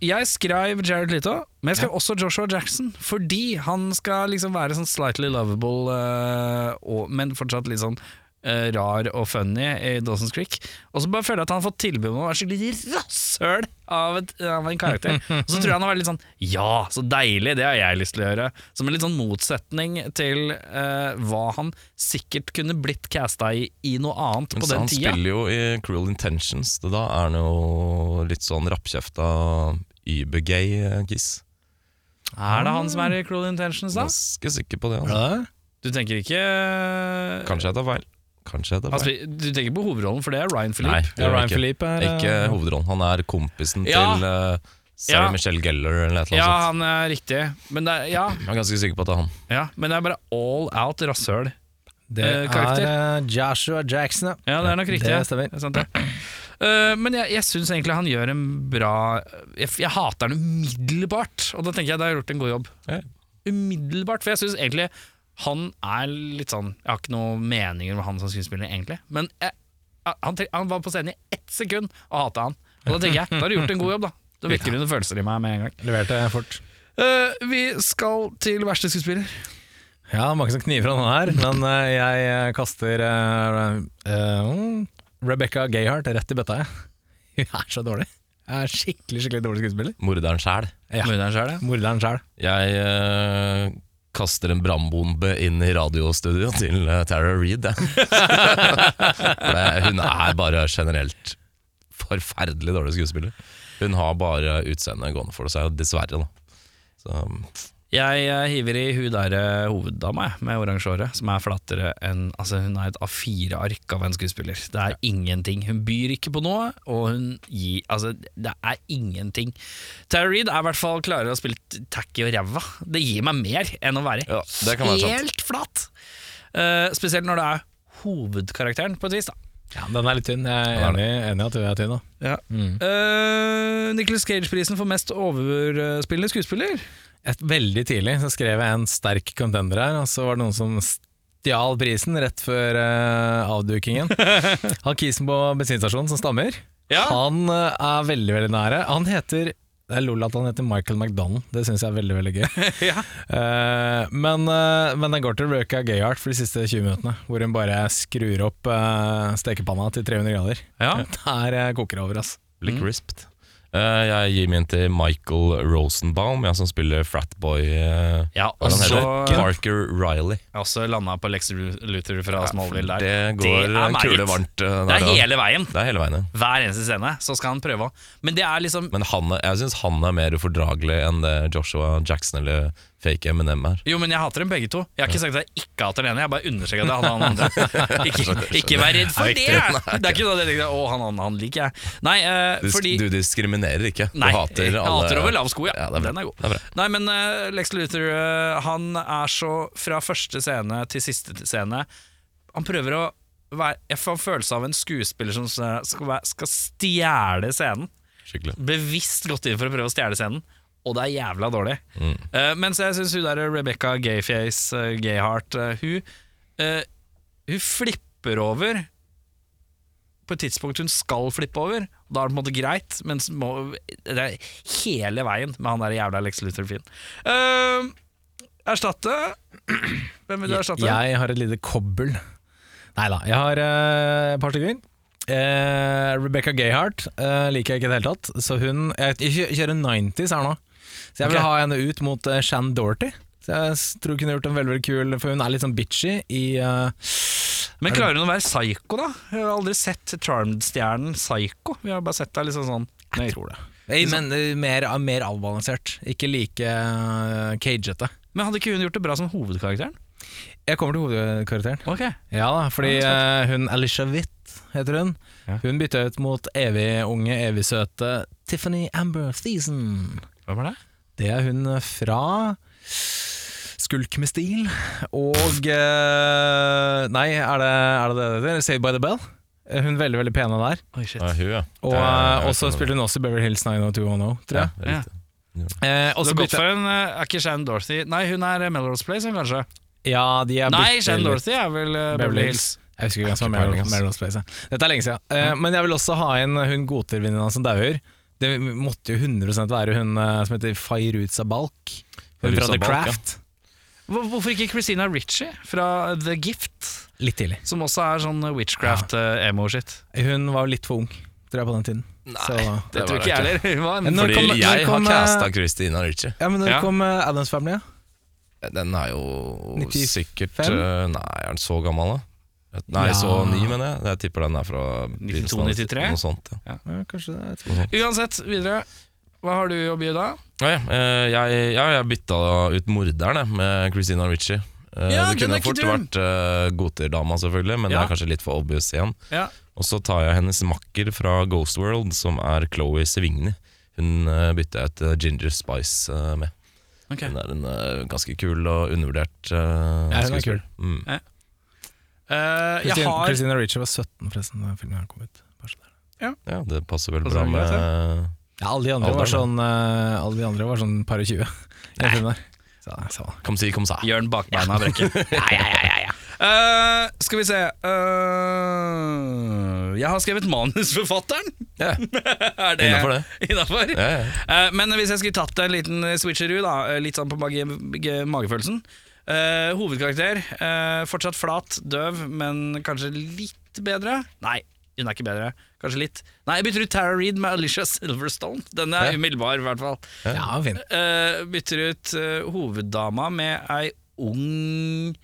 B: jeg skrev Jared Leto, men jeg skrev også Joshua Jackson. Fordi han skal liksom være sånn slightly lovable, eh, og, men fortsatt litt sånn eh, rar og funny i Dawson's Creek. Og så bare føler jeg at han har fått tilbud om å være skikkelig rasshøl av, et, av en karakter. Og så tror jeg han har vært litt sånn Ja, så deilig, det har jeg lyst til å gjøre. Som en litt sånn motsetning til eh, hva han sikkert kunne blitt casta i i noe annet
A: Men
B: på
A: så
B: den
A: han
B: tida.
A: spiller jo i Cruel Intentions. Det da er han jo litt sånn rappkjefta übergay kiss.
B: Er det han som er i Cruel Intentions, da?
A: Ganske sikker på det. Altså.
C: Var det det?
B: Du tenker ikke
A: Kanskje jeg tar feil. Kanskje jeg tar
B: Han
A: feil.
B: spiller- Du tenker på hovedrollen, for det er Ryan
A: Nei, det
B: Philippe.
C: Ja,
A: gjør jeg
C: Ryan
A: ikke.
C: Philippe er
A: Ikke
C: eh,
A: hovedrollen. Han er kompisen
B: Ja.
A: til uh, Sarah
B: Ja.
A: Michelle Geller eller et eller
B: Ja,
A: annet sånt.
B: han er riktig. Men det er, ja,
A: Jeg er ganske sikker på at det er han.
B: ja, men det er bare all out rasshøl.
C: Det
B: eh, karakter.
C: er eh, Joshua Jackson, ja.
B: Ja, det er nok riktig.
C: Det stemmer.
B: Det er sant, det. Eh, men jeg, jeg syns egentlig han gjør en bra Jeg, jeg hater han umiddelbart, og da tenker jeg da har jeg gjort en god jobb.
A: Ja.
B: Umiddelbart, for jeg syns egentlig han er litt sånn Jeg har ikke noen meninger med han som skuespiller, egentlig. Men jeg, han, tre- han var på scenen i ett sekund og hata han. Og da tenker jeg da har du gjort en god jobb, da. Da virker det noen følelser i meg med en gang.
C: Leverte fort.
B: Eh, vi skal til verste skuespiller.
C: Ja, det var ikke som kniver han her, men eh, jeg eh, kaster eh, eh, mm, Rebecca Gayheart rett i bøtta, jeg. Hun er så dårlig. Hun er skikkelig, skikkelig dårlig skuespiller.
A: Morderen sjæl.
C: Ja.
B: Morderen sjøl, ja.
C: Morderen sjæl.
A: Jeg eh, kaster en brannbombe inn i radiostudioet til eh, Tara Reid. jeg. For det- Hun er bare generelt forferdelig dårlig skuespiller. Hun har bare utseendet gående for seg, dessverre. da så, um,
B: Jeg eh, hiver i hun der eh, hoveddama jeg, med oransje håret, som er flattere enn altså Hun er et A4-ark av en skuespiller. Det er ingenting. Hun byr ikke på noe, og hun gir Altså, det er ingenting. Tara Reid er i hvert fall klarere å spille t- tacky og ræva. Det gir meg mer enn å være
A: Ja, det kan være sant.
B: helt flat. Eh, spesielt når det er hovedkarakteren, på et vis. da
C: Ja, den er litt tynn. Jeg er
A: Den er
C: enig, enig i at hun er tynn. Da.
B: ja. Nicholas Eh, Cage-prisen for mest overspillende skuespiller.
C: Et, veldig tidlig så skrev jeg en sterk contender her, og så var det noen som stjal prisen rett før eh, avdukingen. Han kisen på bensinstasjonen som stammer,
B: Ja.
C: han eh, er veldig, veldig nære. Han heter det er lol at han heter Michael McDonald, det syns jeg er veldig veldig gøy.
B: Ja.
C: Eh, men, eh, men den går til Røka Gayheart for de siste 20 minuttene, hvor hun bare skrur opp eh, stekepanna til 300 grader.
B: Ja.
C: Der eh, koker det over, ass.
A: blir
B: Mm.
A: crisped. Eh, jeg gir min til Michael Rosenbaum, jeg som spiller Fratboy uh,
B: Altså, Ja,
A: Hva
B: og
A: han
B: så
A: heter Parker Riley.
B: Jeg har også landa på Lex Luther fra Smallville der.
A: Det går
B: Det er
A: en
B: meget.
A: kule varmt. eh,
B: Det
A: der,
B: er
A: da.
B: hele veien.
A: det er hele veien. ja.
B: Hver eneste scene så skal han prøve å Men det er liksom
A: Men han, er- jeg syns han er mer ufordragelig enn det Joshua Jackson eller fake M&M her.
B: Jo, men jeg hater dem begge to. Jeg har ikke sagt at jeg ikke hater den ene. Jeg bare understreker at jeg hater han andre. Ikke, ikke vær redd for det! Det er ikke noe det ligger der. Å, han andre han liker jeg. Nei, eh,
A: Du,
B: fordi
A: du diskriminerer ikke. Du
B: Nei,
A: hater
B: jeg
A: alle
B: hater over lav sko, ja.
A: det er bra.
B: Den er god.
A: Det er bra.
B: Nei, men eh, Lex Luthor eh, Han er så Fra første scene til siste scene Han prøver å være Jeg får en følelse av en skuespiller som skal, være- skal stjele scenen
A: Skikkelig.
B: bevisst gått inn for å prøve å stjele scenen, og det er jævla dårlig.
C: Mm.
B: Eh, mens jeg syns hun der Rebecca Gayface, eh, Gayheart, eh, hun, eh, hun flipper over på et tidspunkt hun skal flippe over. og Da er det på en måte greit, men så må, det er hele veien med han der jævla Lex Luthor-fyren. Eh, erstatte Hvem vil du erstatte?
C: Jeg har et lite kobbel. Nei da, jeg har eh, et par stykker. Eh, Rebecca Gayheart eh, liker jeg ikke i det hele tatt. Så hun Jeg, jeg kjører 90s her nå. Så jeg vil
B: Ok.
C: ha henne ut mot eh, Shan Dorty. Så jeg s- tror hun kunne gjort en veldig, veldig kul For hun er litt sånn bitchy i eh,
B: Men klarer hun å være psycho, da? Jeg har aldri sett Charmed-stjernen psycho. Vi har bare sett deg liksom sånn
C: Jeg tror det. men eh, mer, mer avbalansert. Ikke like eh, cagete.
B: Men hadde ikke hun gjort det bra som hovedkarakteren?
C: Jeg kommer til hovedkarakteren.
B: Ok
C: Ja da, fordi
B: Ja, det
C: eh, hun Alicia Witt heter hun. Hun bytta ut mot evig unge, evig søte Tiffany Amber Thiessen.
B: Hvem er det?
C: Det er hun fra Skulk med stil og eh, Nei, er det er det det det heter? Saved by the Bell? Eh, Hun er veldig, veldig pene der.
B: Oi, shit.
A: Ja, hun, ja.
C: Og
A: Det er-
C: eh, også spilte hun også i Beverly Hills 90210, tror
A: ja,
C: jeg.
A: det er riktig.
C: Eh, og
B: Det
C: så
B: er godt
C: bytta-
B: for en eh, Er ikke Shannon Dorothy Nei, hun er eh, Melrose Place, hun kanskje?
C: ja, de er
B: Nei,
C: bytte-
B: Shannon Dorothy er vel eh, Beverly Hills.
C: Jeg husker ikke hvem som
A: Ikke
C: var
A: peiling,
C: Meryl-
A: ass.
C: Meryl Streep. Dette er lenge siden. Eh, Men jeg vil også ha inn hun godtervenninna som dauer. Det måtte jo 100 være hun eh, som heter Fayruza Balk. Hun
A: Fayruza
C: fra The
A: Balk, ja.
C: Craft.
B: Hvor- Hvorfor ikke Christina Ritchie fra The Gift?
C: Litt tidlig.
B: Som også er sånn witchcraft-emo-shit.
C: Hun var jo litt for ung, tror jeg, på den tiden. Nei,
B: Det
A: Det
B: tror
A: var
B: ikke jeg
A: det
B: heller. Hun var en-
C: Men når
A: Fordi
C: kom- når
A: jeg har
C: kom, eh,
A: casta Christina Ritchie.
C: ja, men når
B: Ja.
C: kom eh, Addams Family? Ja?
A: Den er jo
C: 95?
A: sikkert eh, Nei, er den så gammel, da? Nei,
C: Ja.
A: så ny, mener jeg. Jeg tipper den er fra
B: 92-93?
A: Noe sånt, ja.
C: Ja, kanskje det. jeg tror-
B: Uansett, videre. Hva har du å by da?
A: Ja, ja, eh, jeg, ja, jeg bytta ut morderen jeg, med Christina Ritchie. Eh,
B: Ja,
A: det
B: den
A: kunne
B: er ikke
A: fort
B: dum.
A: vært eh, godterdama, selvfølgelig, men
B: Ja.
A: det er kanskje litt for obvious igjen.
B: Ja.
A: Og så tar jeg hennes makker fra Ghost World, som er Chloé Sevigny. Hun eh, bytter jeg ut eh, Ginger Spice eh, med.
B: Ok.
A: Hun er en eh, ganske kul og undervurdert uh,
C: Ja, hun er kul.
A: Mm.
B: Eh, jeg
C: Christine,
B: har
C: Christina Ritchie var 17 forresten da filmen her kom ut. Bare så der.
A: Ja, det passer vel
B: Passer altså.
A: bra
B: vel
A: med
C: Ja, alle de andre
A: Alderen,
C: var
A: ja.
C: sånn eh, Alle de andre var sånn par og tjue. i den filmen der. Så, så.
A: Kom si, kom sa.
B: Jørn bakbeina brekker. ja, ja, ja, ja, ja. Eh, skal vi se Eh, Jeg har skrevet manusforfatteren.
A: Ja,
B: er det
A: Innenfor det.
B: Innenfor?
A: ja, ja.
B: Eh, men hvis jeg skulle tatt en liten switcheroo, da, eh, litt sånn på mage, mage- magefølelsen Eh, Hovedkarakter, eh, fortsatt flat, døv, men kanskje litt bedre. Nei, hun er ikke bedre. Kanskje litt. Nei, jeg bytter ut Tara Reed med Alicia Silverstone. Den er
A: Ja.
B: umiddelbar, i hvert fall.
C: Ja, fin.
B: Eh, bytter ut eh, hoveddama med ei ung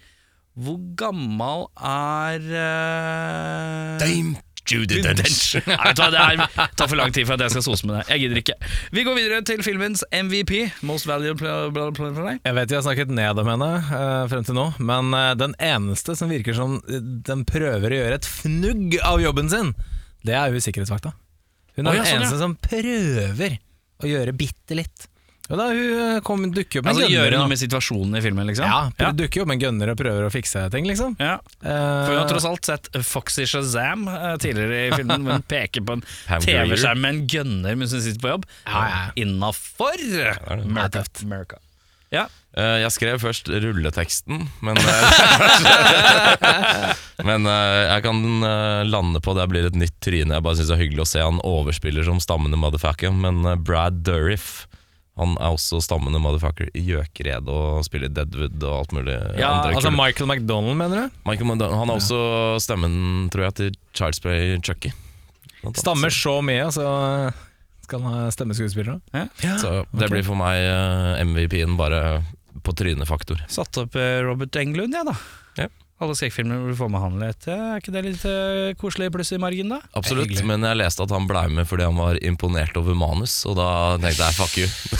B: Hvor gammel er eh,
A: Dame Judy Dench.
B: Nei, vet du hva, det her tar for lang tid for at jeg skal sose med det. Jeg gidder ikke. Vi går videre til filmens MVP. Most valuable player, player, player, player.
C: Jeg vet vi har snakket ned om henne eh, frem til nå, men eh, den eneste som virker som eh, den prøver å gjøre et fnugg av jobben sin, det er hun sikkerhetsvakta. Hun er
B: Å, ja,
C: den
B: sånn, ja.
C: eneste som prøver å gjøre bitte litt. Og da hun eh, kom, dukker opp med
B: Altså
C: en gunner.
B: gjøre noe
C: og-
B: med situasjonen i filmen, liksom?
C: ja,
B: ja.
C: pr- dukker opp med en gunner og prøver å fikse ting, liksom.
B: Ja. For
C: Eh.
B: vi har tross alt sett eh, Foxy Shazam eh, tidligere i filmen, hvor hun peker på en
A: Pam
B: TV-skjerm med en gunner mens hun sitter på jobb.
C: Ja, ja.
B: Innafor! America. America. Ja.
A: Eh, jeg skrev først rulleteksten, men eh, Men eh, jeg kan eh, lande på det blir et nytt tryne. Jeg bare syns det er hyggelig å se han overspiller som stammende motherfucker. Men eh, Brad Dourif han er også stammende motherfucker i Gjøkered og spiller Deadwood og alt mulig.
B: Ja,
A: andre
C: Altså
A: kule-
C: Michael McDonald, mener du?
A: Michael Mondan- han er også stemmen, tror jeg, til Child's Play Chucky. Blant annet.
C: Stammer så mye, så eh, skal han ha stemmeskuespillere.
A: Så det blir for meg eh, MVP-en bare på trynefaktor.
B: Satt opp eh, Robert Englund, jeg, ja, da.
A: Ja.
B: Alle skrekkfilmer hvor du får med han litt. Ja, Er ikke det litt eh, koselig pluss i margen, da?
A: Absolutt,
C: Hyggelig.
A: men jeg leste at han blei med fordi han var imponert over manus, og da tenkte jeg fuck you.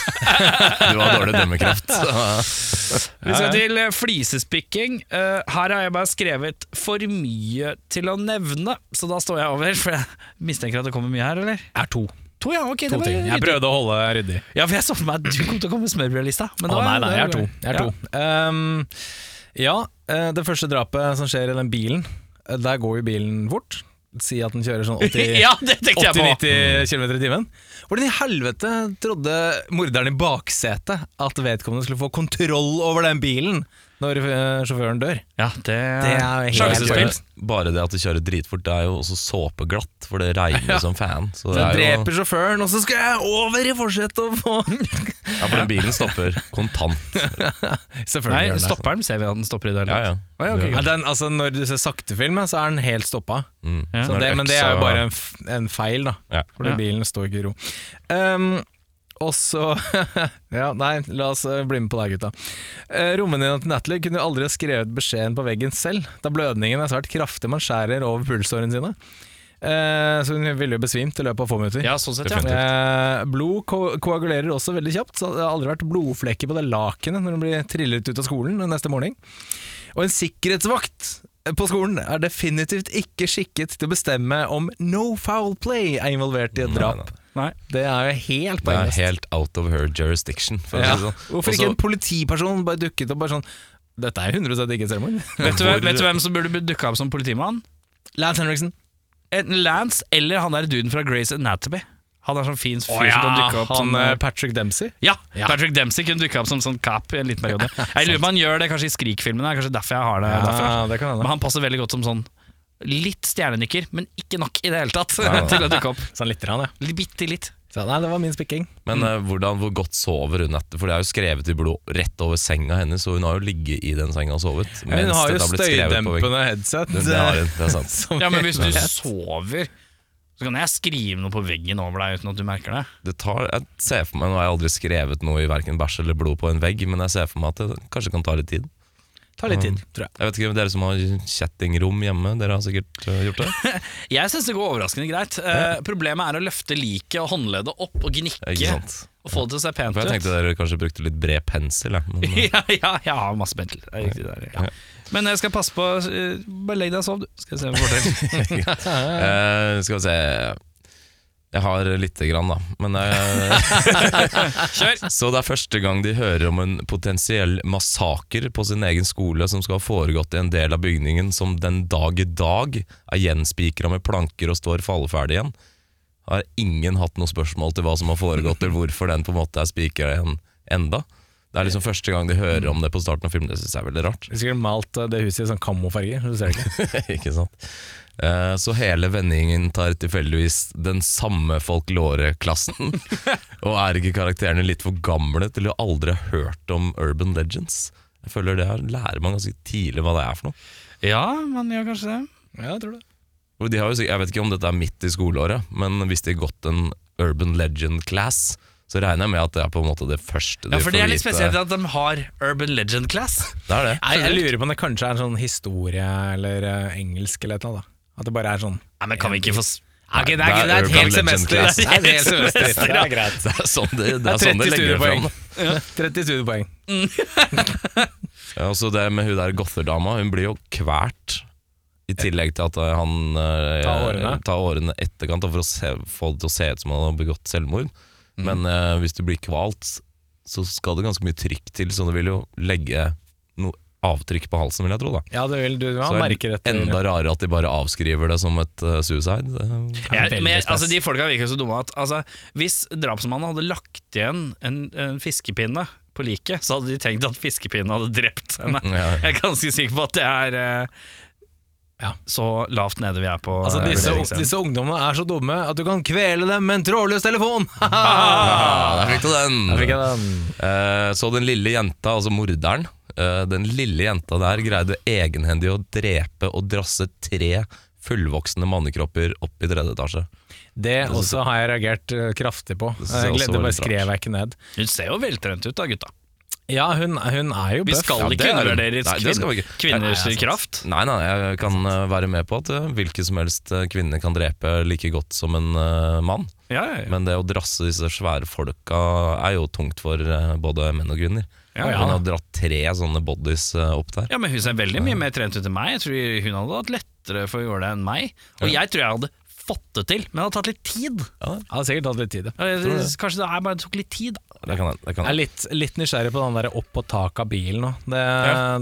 A: du har dårlig dømmekraft.
B: Vi skal til eh, flisespikking. Eh, her har jeg bare skrevet 'for mye til å nevne', så da står jeg over. For jeg mistenker at det kommer mye her, eller?
C: Er to.
B: To, ja, ok.
C: To
B: det var
C: ting. Jeg
B: ryddig.
C: prøvde å holde ryddig.
B: Ja, for jeg så for meg at du kom til å komme med smørbrødlista. Men
C: Å
B: da-
C: Ah, nei, nei, jeg er
B: da-
C: to. Jeg er to. Ehm, ja, eh, det første drapet som skjer i den bilen, eh, der går jo bilen fort. Si at den kjører sånn 80
B: Ja, det tenkte jeg på!
C: 80-90 km i timen. Hvordan i helvete trodde morderen i baksetet at vedkommende skulle få kontroll over den bilen når eh, sjåføren dør?
B: Ja, det,
C: er jo helt
B: Sjansespill.
C: vilt.
A: Bare det at de kjører dritfort, det er jo også såpeglatt, for det regner som fan. Så det er
C: Den
A: jo,
C: dreper sjåføren, og så skal jeg over i forsetet og få
A: ja, for den bilen stopper kontant.
C: Selvfølgelig
B: Nei,
C: gjør den det.
B: stopper den? Ser vi at den stopper i det hele
A: Ja, ja.
B: tatt? Å, ja, ok,
C: Ja,
B: greit.
C: den, altså, når du ser saktefilm, så er den helt stoppa.
A: Mm.
B: Ja.
C: Så
A: Når
C: det, men det
A: øksa-
C: er jo bare en, f en feil, da.
A: Ja.
C: Fordi
B: Ja.
C: bilen står ikke i ro. Ehm, og så Ja, nei, la oss eh, bli med på det, her, gutta. Uh, Romvenninna til Natalie kunne aldri ha skrevet beskjeden på veggen selv, da blødningen er svært kraftig man skjærer over pulsårene sine. Eh, så hun ville jo besvimt i løpet av få minutter.
B: ja, sånn sett, ja.
C: Eh, blod ko koagulerer også veldig kjapt, så det har aldri vært blodflekker på det lakenet når hun blir trillet ut av skolen neste morgen. Og en sikkerhetsvakt på skolen er definitivt ikke skikket til å bestemme om no foul play er involvert i et drap.
A: Nei, nei.
B: Nei.
C: Det er jo helt
A: Mm. Det er
C: poengløst.
A: helt out of her jurisdiction. For
C: Ja.
A: å si det sånn.
C: Hvorfor ikke en politiperson bare dukket opp bare sånn Dette er 100 ikke selvmord.
B: Vet, du, hvem- vet du hvem som burde dukka opp som politimann?
C: Lance Henriksen.
B: Enten Lance eller han der duden fra Grey's Anatomy. Han er sånn fin fyr som kan dukke opp
C: han
B: som
C: eh, Patrick Dempsey.
B: ja,
C: Ja.
B: Patrick Dempsey kunne dukka opp som sånn cap i en liten periode. Jeg lurer på om han gjør det kanskje i Skrik-filmene. Det er Kanskje derfor jeg har det derfra.
C: det kan
B: Men
C: hende.
B: han passer veldig godt som sånn litt stjernenykker, men ikke nok i det hele tatt
A: nei.
B: til å dukke opp.
C: Sånn lite grann, ja.
B: Litt- Bitte litt.
C: Så, nei, det var min spikking.
A: Men eh,
C: Mm.
A: hvordan, hvor godt sover hun etter? For det er jo skrevet i blod rett over senga hennes, og hun har jo ligget i den senga og sovet.
C: Hun
A: mens
C: har jo
A: dette blitt skrevet på veggen.
C: støydempende headset.
A: Det, det, har hun, det er sant.
C: Som
B: Ja, men hvis du
C: Ja.
B: sover, så kan jeg skrive noe på veggen over deg uten at du merker det.
A: Det tar, jeg ser for meg, Nå har jeg aldri skrevet noe i verken bæsj eller blod på en vegg, men jeg ser for meg at det kanskje kan ta litt tid.
C: tar litt
A: Mm.
C: tid, tror jeg.
A: Jeg vet ikke, Dere som har kjettingrom hjemme, dere har sikkert øh, gjort det?
B: Jeg syns det går overraskende greit. Eh, problemet er å løfte liket og håndleddet opp og gnikke
A: Ikke sant?
B: og få det til å se pent
A: For jeg
B: ut.
A: tenkte dere kanskje brukte litt bred pensel. Jeg. Men, øh,
B: ja, ja, jeg har masse pensel. Det er riktig det er, ja. Men jeg skal passe på eh, Bare legg deg og sov, du. Skal jeg se om jeg får til.
A: eh, skal vi se Jeg har lite grann, da. Men eh,
B: Kjør!
A: Så det er første gang de hører om en potensiell massaker på sin egen skole som skal ha foregått i en del av bygningen som den dag i dag er gjenspikra med planker og står falleferdig igjen. Har ingen hatt noe spørsmål til hva som har foregått, eller hvorfor den på en måte er spikra igjen enda. Det er liksom første gang de hører om det på starten av filmen. Det syns jeg er veldig rart.
C: Vi skulle malt eh, det huset i sånn kamofarge, så du ser det ikke.
A: ikke sant? Eh, Så hele vendingen tar tilfeldigvis den samme folklore-klassen. Og er ikke karakterene litt for gamle til å aldri ha hørt om urban legends? Jeg føler det her lærer man ganske tidlig hva det er for noe.
B: Ja, man gjør kanskje det.
C: Ja, jeg tror det.
A: Og de har jo, sikk- jeg vet ikke om dette er midt i skoleåret, men hvis de har gått en urban legend class, så regner jeg med at det er på en måte det første de
B: Ja, for det er litt
A: får vite.
B: spesielt at de har Urban Legend Class.
A: Det er det.
C: Nei, jeg lurer på om det kanskje er en sånn historie eller eh, engelsk eller et eller annet. da. At det bare er sånn
B: Nei, men kan vi ikke få s-
C: Nei,
B: Ok, det
A: det
B: er,
A: er
B: det er et
A: Urban
B: helt
A: Legend
B: semester.
A: Class.
B: Det er et helt semester.
C: Det er greit.
A: Det er sånn de, det
C: Det
A: er sånn de
C: er 30
A: legger det fram.
C: studiepoeng. 30 studiepoeng.
A: Ja, og så det med hun der gotherdama, hun blir jo kvært. I tillegg til at eh, han eh,
C: Ta årene.
A: tar årene etterkant da, for å se, få det til å se ut som han har begått selvmord.
C: Mm.
A: Men eh, hvis du blir kvalt, så skal det ganske mye trykk til, så det vil jo legge noe avtrykk på halsen, vil jeg tro. da
C: Ja, det vil du ha
A: Så er det
C: merker etter
A: enda rarere at de bare avskriver det som et eh, suicide. Det-
B: Ja,
C: Veldig
B: men jeg,
C: spes.
B: altså, de folka virker så dumme at altså, hvis drapsmannen hadde lagt igjen en, en fiskepinne på liket, så hadde de tenkt at fiskepinne hadde drept henne.
A: ja.
B: Jeg er ganske sikker på at det er eh,
C: Ja.
B: så lavt nede vi er på
C: Altså,
B: eh,
C: disse,
A: liksom.
B: vurderingsevnen.
C: disse ungdommene er så dumme at du kan kvele dem med en trådløs telefon!
A: Ah, der fikk du den!
C: Der fikk jeg den.
A: Eh, Så den lille jenta, altså morderen eh, Den lille jenta der greide egenhendig å drepe og drasse tre fullvoksne mannekropper opp i tredje etasje.
C: Det også har jeg reagert eh, kraftig på.
A: synes jeg
C: Jeg
A: også
C: gled-
A: var
C: Det bare
A: litt rart.
C: skrev jeg ikke ned.
B: Hun ser jo veltrent ut, da, gutta.
C: Ja, hun, hun er jo
B: Vi
C: bøff.
B: skal
A: Ja, det
B: ikke
A: er hun.
B: undervurdere
A: Nei, det skal vi
B: kvin-
A: ikke.
B: kvinners
A: Nei, altså, nei,
B: kraft.
A: Nei, nei, jeg kan eh, være med på at eh, hvilke som helst eh, kvinne kan drepe like godt som en eh, mann.
B: Ja, ja, ja.
A: Men det å drasse disse svære folka er jo tungt for eh, både menn og kvinner.
B: Ja,
C: ja.
A: Hun har dratt tre sånne bodies eh, opp der.
B: ja, men hun ser veldig mye mer trent ut enn meg. Jeg tror hun hadde hatt lettere for å gjøre det enn meg. Og jeg tror jeg hadde fått det til, men det hadde tatt litt tid.
C: Det har sikkert tatt litt tid.
B: Ja, jeg-
A: du det?
B: Kanskje det er bare det tok litt tid.
A: Det kan jeg. Det kan
C: Jeg er
A: jeg.
C: litt, litt nysgjerrig på den der opp på taket av bilen nå. Det,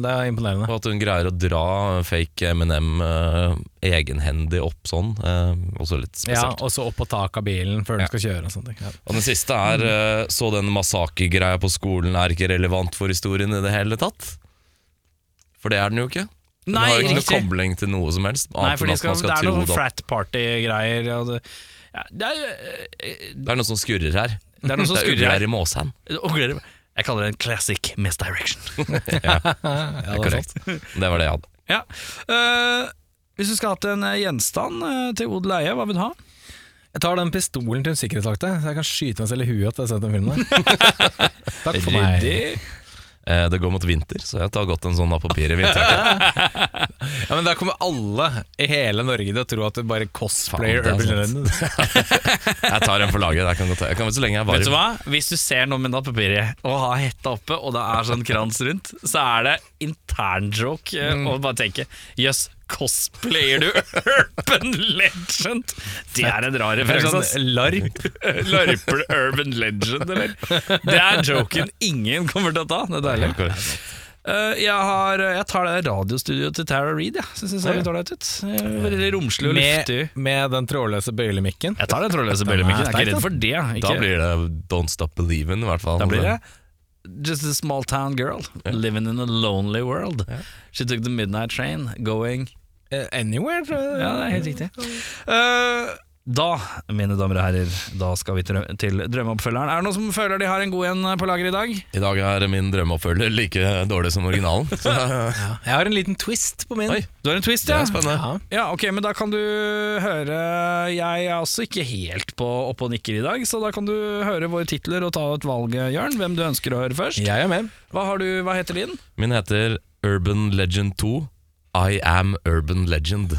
C: det er imponerende.
A: Og at hun greier å dra fake Eminem eh, egenhendig opp sånn, eh, også litt
C: Ja,
A: spesielt.
C: og så opp på taket av bilen
A: Ja.
C: før du skal kjøre og sånne ting. Ja.
A: Og den siste er eh, Så den massakegreia på skolen er ikke relevant for historien i det hele tatt? For det er den jo ikke. Den
B: Nei,
A: har jo ikke noe
B: riktig.
A: kobling til noe som helst.
B: Nei,
A: annet
B: for
A: enn
B: de
A: at
B: skal,
A: man skal
B: det er
A: tro
B: noen
A: det.
B: frat party-greier. og det- Ja, det er eh,
A: Det er noe som skurrer her.
B: Det er noe som skurrer her.
A: ugler i måsen.
B: Og gleder meg. Jeg kaller det en classic misdirection.
A: Det er korrekt. Det var det jeg hadde.
B: ja. Eh, hvis du skulle hatt en eh, gjenstand eh, til odel og eie, hva vil du ha?
C: Jeg tar den pistolen til en sikkerhetsvakte, så jeg kan skyte meg selv i huet etter å ha sett den filmen. Takk for meg.
A: Ryddig. Eh, Det går mot vinter, så jeg tar godt en sånn av papir i vinterjakke.
C: Ja, men Da kommer alle i hele Norge til å tro at du bare cosplayer
A: Faen, det er
C: Urban
A: sant.
C: Legend.
A: Jeg tar en for laget. Jeg kan godt ta. Jeg kan vel så lenge jeg er
B: Vet du
A: varm.
B: hva? Hvis du ser noen med nattpapiret og har hetta oppe, og det er sånn krans rundt, så er det internjoke eh, å bare tenke Jøss, cosplayer du Urban Legend? Det er en rar
C: Det er
B: referanse. ass.
C: sånn larp.
B: Larper du Urban Legend, eller? Det er joken ingen kommer til å ta. Det er deilig.
A: Helt korrekt.
B: Eh, jeg, har, jeg tar det radiostudioet til Tara Reid, jeg. Syns det ser litt ålreit ut. Eh, Veldig romslig og
C: Med,
B: luftig.
C: med den trådløse bøylemikken.
B: Jeg tar den trådløse bøllemikken, jeg er ikke redd for det. Ikke.
A: Da blir det Don't Stop Believin', i hvert fall.
B: Da blir det Just a small town girl living in a lonely world. She took the midnight train going
C: Eh, Anywhere, tror jeg.
B: Ja, det er helt riktig. Eh, da, mine damer og herrer, da skal vi drø- til drømmeoppfølgeren. Er det noen som føler de har en god en på lager i dag?
A: I dag er min drømmeoppfølger like dårlig som originalen. Så eh, det
C: Jeg har en liten twist på min.
A: Oi,
B: Du har en twist,
A: er
B: ja?
A: spennende.
C: Ja.
B: Ja, ok, men da kan du høre Jeg er også ikke helt på oppe og nikker i dag, så da kan du høre våre titler og ta et valg, Jørn. Hvem du ønsker å høre først.
C: Jeg er med.
B: Hva, har du, hva heter din?
A: Min heter Urban Legend 2. I am Urban Legend.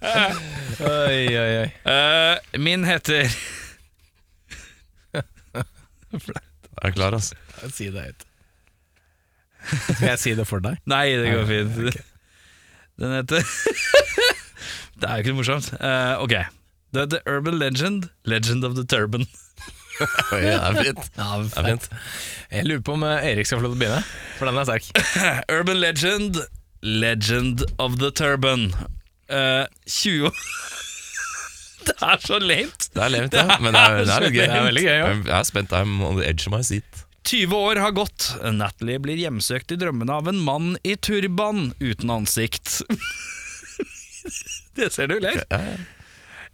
C: Oi, oi, oi.
B: Eh, min heter
A: Er du klar, altså?
C: Si det høyt. Skal jeg si det for deg?
B: Nei, det går fint. Den heter Det er jo ikke noe morsomt. Eh, ok. Det heter Urban Legend, Legend of the Turban.
A: Oi, Det er fint.
C: Ja,
A: Det er fint.
C: Jeg lurer på om eh, Erik skal få lov til å begynne, for den er sterk.
B: Urban Legend, Legend of the Turban. Eh, 20 år Det er så late!
A: Det er levt, ja. Men det er, det er litt gøy.
C: Det er veldig gøy, ja.
A: Jeg er spent. I'm on the edge of my seat.
B: 20 år har gått. Natalie blir hjemsøkt i drømmene av en mann i turban uten ansikt. Det ser du, ler.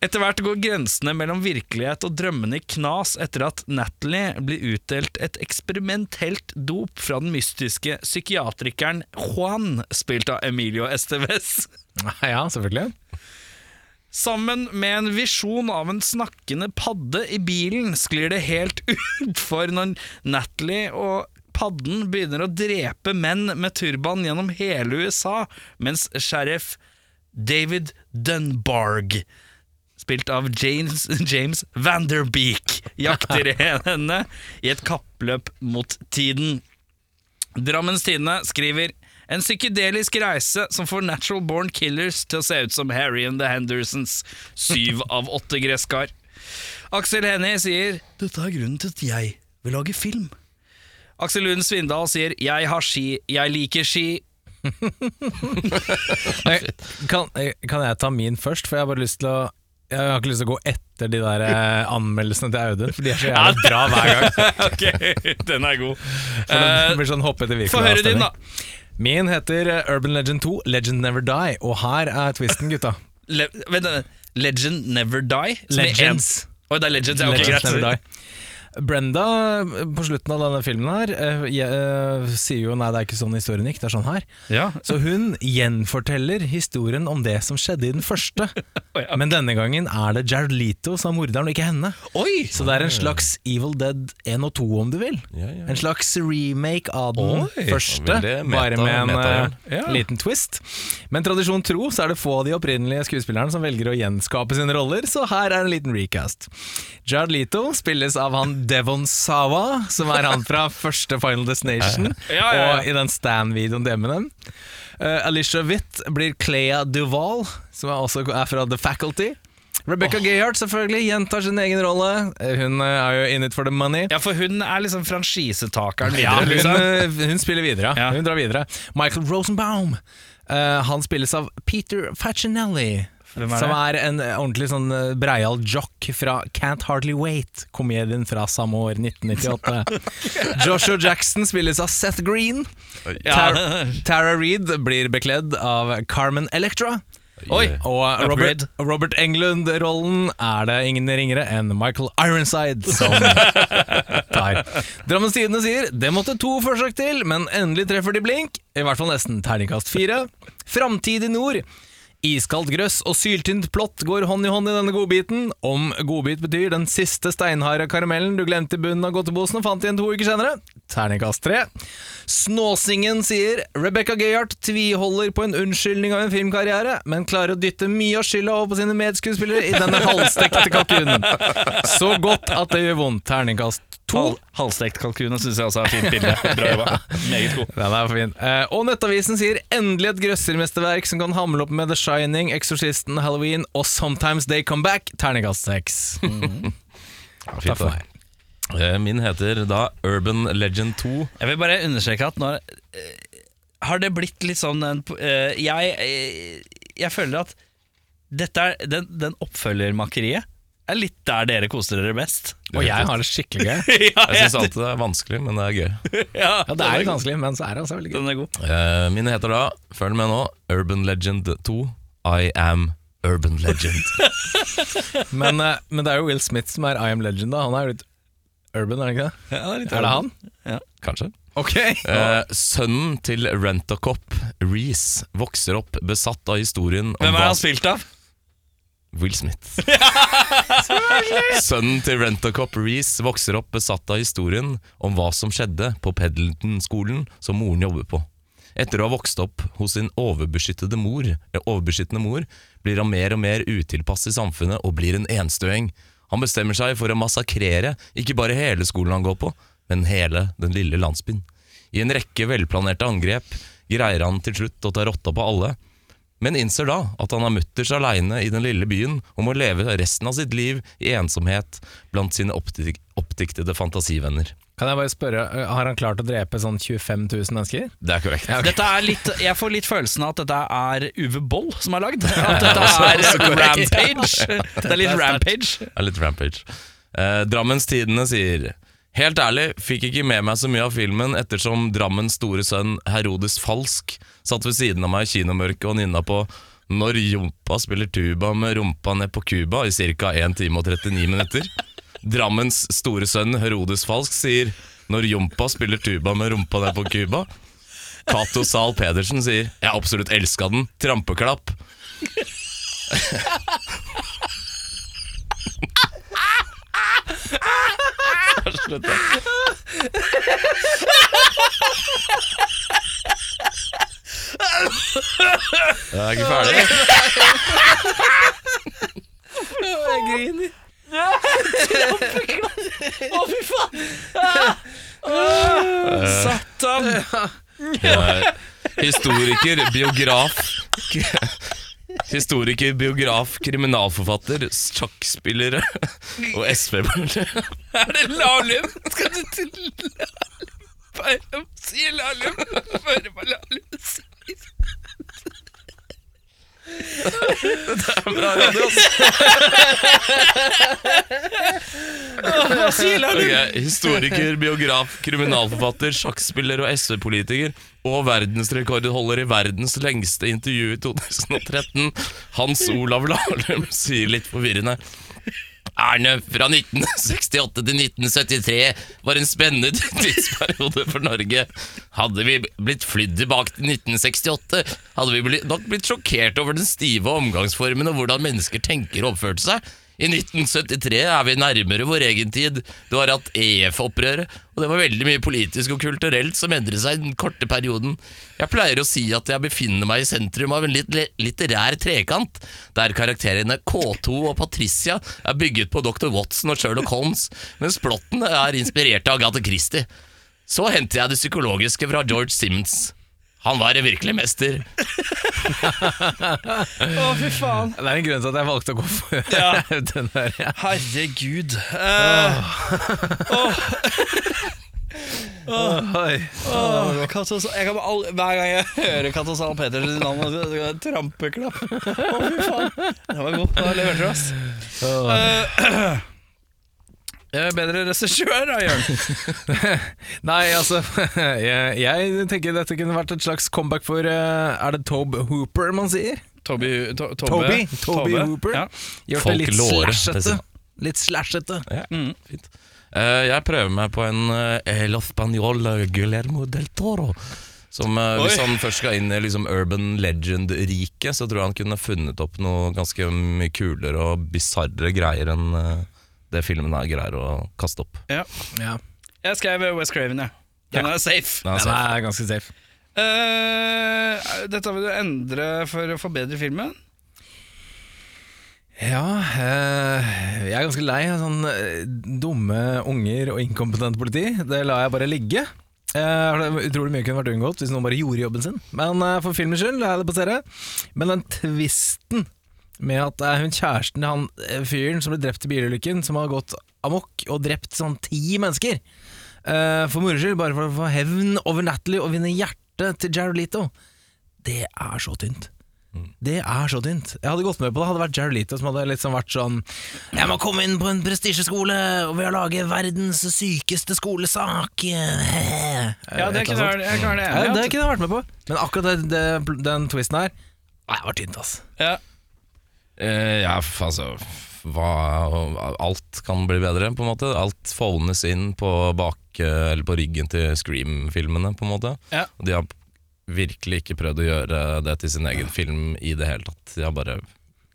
B: Etter hvert går grensene mellom virkelighet og drømmene i knas etter at Natalie blir utdelt et eksperimentelt dop fra den mystiske psykiatrikeren Juan, spilt av Emilio Estevez.
C: Ja, selvfølgelig.
B: Sammen med en visjon av en snakkende padde i bilen sklir det helt utfor når Natalie og padden begynner å drepe menn med turban gjennom hele USA, mens sheriff David Dunbarg, spilt av James, James Vanderbeek, jakter henne i et kappløp mot tiden. Drammens Tidende skriver en psykedelisk reise som får Natural Born Killers til å se ut som Harry and the Hendersons. Syv av åtte gresskar. Aksel Hennie sier Dette er grunnen til at jeg vil lage film. Aksel Lund Svindal sier Jeg har ski, jeg liker ski.
C: Jeg- Kan, eh, kan jeg ta min først, for jeg har bare lyst til å jeg har ikke lyst til å gå etter de der eh, anmeldelsene til Audun, for de er så jævlig bra hver gang.
B: ok, den er god.
C: For
B: Eh,
C: den blir sånn hoppete virkelig
B: Få høre din,
C: avstemning.
B: da.
C: Min heter eh, Urban Legend 2, Legend Never Die, og her er twisten, gutta.
B: Le vent, vent, Legend Never Die. som er en-
C: Legends.
B: Oi, det er Legends, ja, ok,
C: Legends
B: greit.
C: Never Die. Brenda, eh, på slutten av denne filmen her, eh, je- eh, sier jo nei, det er ikke sånn historien gikk, det er sånn her.
B: Ja.
C: Så hun gjenforteller historien om det som skjedde i den første.
B: ja.
C: Men denne gangen er det Jared Leto som er morderen, og ikke henne.
B: Oi!
C: Så det er en slags Evil Dead 1 og 2, om du vil.
A: Ja, ja.
C: En slags remake av den
A: Oi,
C: første,
A: veldig meta-
C: bare med en
A: meta,
C: eh,
B: ja.
C: liten twist. Men tradisjon tro så er det få av de opprinnelige skuespillerne som velger å gjenskape sine roller, så her er en liten recast. Jared Leto spilles av han Devon Sawa, som er han fra første Final Destination,
B: Ja, ja, ja.
C: og i den Stan-videoen til Eminem. Eh, Alicia Witt blir Clea Duval, som er også er fra The Faculty. Rebecca Gayheart selvfølgelig gjentar sin egen rolle. Eh, Hun eh, er jo in it for the money.
B: Ja, for hun er liksom franchisetakeren videre.
C: hun,
B: liksom.
C: eh, hun spiller videre.
B: Ja.
C: Ja. Hun drar videre. Michael Rosenbaum. eh, han spilles av Peter Facinelli.
B: Hvem er
C: som
B: det?
C: er en eh, ordentlig sånn eh, breial jock fra Can't Hardly Wait, komedien fra samme år, 1998. Joshua Jackson spilles av Seth Green. Tar Tara Reed blir bekledd av Carmen Electra.
A: Oi.
C: Og Robert, Robert Englund-rollen er det ingen ringere enn Michael Ironside som tar. Drammens Tidende sier det måtte to forsøk til, men endelig treffer de blink. I hvert fall nesten terningkast fire. Framtid i nord. Iskaldt grøss og syltynt plott går hånd i hånd i denne godbiten. Om godbit betyr den siste steinharde karamellen du glemte i bunnen av godteposen og fant igjen to uker senere. Terningkast tre. Snåsingen sier Rebecca Gayhart tviholder på en unnskyldning av en filmkarriere, men klarer å dytte mye av skylda over på sine medskuespillere i denne halvstekte kalkunen. Så godt at det gjør vondt. Terningkast to.
B: Hal halvstekt kalkun syns jeg også er et fint bilde. Bra jobba. Meget god.
C: Den er for fin. Eh, og Nettavisen sier endelig et grøssermesterverk som kan hamle opp med The Shining, Exorcisten, Halloween og Sometimes They Come Back. Terningkast seks.
A: Fint,
C: for
A: da. Eh, Min heter da Urban Legend 2.
B: Jeg vil bare understreke at når eh, Har det blitt litt sånn en, eh, jeg, eh, jeg føler at dette er den, den oppfølgermakeriet er litt der dere koser dere best.
C: Og jeg har det skikkelig gøy.
B: ja,
A: Jeg syns alltid det er vanskelig, men det er gøy.
B: ja,
C: Ja, det er litt vanskelig, men så er det altså veldig gøy.
B: Den er god.
A: Eh, Min heter da, følg med nå, Urban Legend 2. I am Urban Legend.
C: Men, eh, men det er jo Will Smith som er I Am Legend, da. Han er jo litt urban, er det ikke det?
B: Ja, litt
C: Er det han?
A: Kanskje.
C: Ok!
A: Eh, sønnen til Rent-A-Cop, Reece, vokser opp besatt av historien om
B: Hvem er
A: hva
B: han spilt av?
A: Will Smith. Sønnen til Rent-A-Cop Reece vokser opp besatt av historien om hva som skjedde på Pedleton-skolen som moren jobber på. Etter å ha vokst opp hos sin overbeskyttede mor, eh, overbeskyttende mor blir han mer og mer utilpass i samfunnet og blir en enstøing. Han bestemmer seg for å massakrere ikke bare hele skolen han går på, men hele den lille landsbyen. I en rekke velplanerte angrep greier han til slutt å ta rotta på alle, men innser da at han er mutters aleine i den lille byen og må leve resten av sitt liv i ensomhet blant sine oppdik oppdiktede fantasivenner.
C: Kan jeg bare spørre, eh, har han klart å drepe sånn 25 000 mennesker?
A: Det er korrekt.
B: Dette er litt, jeg får litt følelsen av at dette er Uwe Boll som har lagd. At dette er Rampage. Det er litt Rampage.
A: Det er litt rampage. Eh, Drammens Tidende sier Helt ærlig, fikk ikke med meg så mye av filmen ettersom Drammens store sønn Herodes Falsk satt ved siden av meg i kinomørket og nynna på Når Jompa spiller tuba med rumpa ned på Cuba i ca. 1 time og 39 minutter. Drammens store sønn Herodes Falsk sier Når Jompa spiller tuba med rumpa ned på Cuba. Cato Zahl Pedersen sier Jeg absolutt elska den. Trampeklapp. Jeg er ikke ferdig.
C: Jeg griner.
B: Å, fy faen! Satan!
A: Eh, Historiker, biograf Historiker, biograf, kriminalforfatter, sjakkspillere og SV-spillere.
B: Er det Lahlum? Skal du til Lahlum? Sier Lahlum. Hører hva Lahlum sier. Hva sier Lahlum?
A: Ok, Historiker, biograf, kriminalforfatter, sjakkspiller og SV-politiker. Og verdensrekordholder i verdens lengste intervju i 2013. Hans Olav Lahlum sier litt forvirrende. Erne fra 1968 til 1973 var en spennende tidsperiode for Norge. Hadde vi blitt flydd tilbake til 1968, hadde vi bli- nok blitt sjokkert over den stive omgangsformen og hvordan mennesker tenker og oppførte seg. I 1973 er vi nærmere vår egen tid. Du har hatt EF-opprøret, og det var veldig mye politisk og kulturelt som endret seg i den korte perioden. Jeg pleier å si at jeg befinner meg i sentrum av en litt le- litterær trekant, der karakterene K2 og Patricia er bygget på Dr. Watson og Sherlock Holmes, mens plotten er inspirert av Agathe Christie. Så henter jeg det psykologiske fra George Simmons. Han var en virkelig mester.
B: Å, fy faen.
C: Det er en grunn til at jeg valgte å gå for
B: Ja.
C: den der. Ja.
B: Herregud. Eh,
C: Oi.
B: åh, Eh, Katos- jeg kan bare all, hver gang jeg hører Katasal Petersens navn, så så kan jeg trampeklapp. Å, fy faen. Det var godt. Da leverte du, ass. Eh, eh, bedre regissør, da, Jørn.
C: Nei, altså jeg, jeg tenker dette kunne vært et slags comeback for eh, Er det Tob Hooper man sier?
B: Toby, to, Tobbe.
C: Toby, Toby
B: Tobbe,
C: Hooper.
B: Ja.
C: Gjort
A: Folk
C: det litt
A: lårer, det
C: slashete.
A: sier-
C: Litt slashete.
A: Ja, fint. Eh, jeg prøver meg på en eh, El Español Guillermo del Toro. Som, eh, hvis
B: Oi.
A: han først skal inn i liksom, urban legend-riket, så tror jeg han kunne funnet opp noe ganske mye kulere og bisarre greier enn eh, det filmen her greier å kaste opp.
B: Ja.
C: Ja.
B: Jeg skrev eh, West Craven, jeg. Den er safe.
A: Nei,
C: Den
A: altså,
C: er ganske safe.
B: Eh, dette vil du endre for å forbedre filmen.
C: Ja, eh, jeg er ganske lei av sånn eh, dumme unger og inkompetent politi. Det lar jeg bare ligge. Eh, det- utrolig mye kunne vært unngått hvis noen bare gjorde jobben sin. Men eh, for filmens skyld lar jeg det passere. Men den tvisten med at det er hun kjæresten til han eh, fyren som ble drept i bilulykken, som har gått amok og drept sånn ti mennesker eh, for moro skyld, bare for å få hevn over Natalie og vinne hjertet til Jared Leto, det er så tynt. Det er så tynt. Jeg hadde gått med på det. Hadde det vært Jarolito som hadde liksom vært sånn Jeg må komme inn på en prestisjeskole og ved å lage verdens sykeste skolesak. Eh,
B: Ja, det kunne vært- jeg kan være
C: Ja, det
B: enig i.
C: kunne jeg vært med på. Men akkurat det, det, den twisten her Nei, det var tynt, ass.
B: at- Ja.
A: eh, ja, f- altså hva, Alt kan bli bedre, på en måte. Alt foldes inn på, bak, eh, eller på ryggen til Scream-filmene, på en måte.
B: Ja.
A: Og de har virkelig ikke prøvd å gjøre det til sin egen film i det hele tatt. De har bare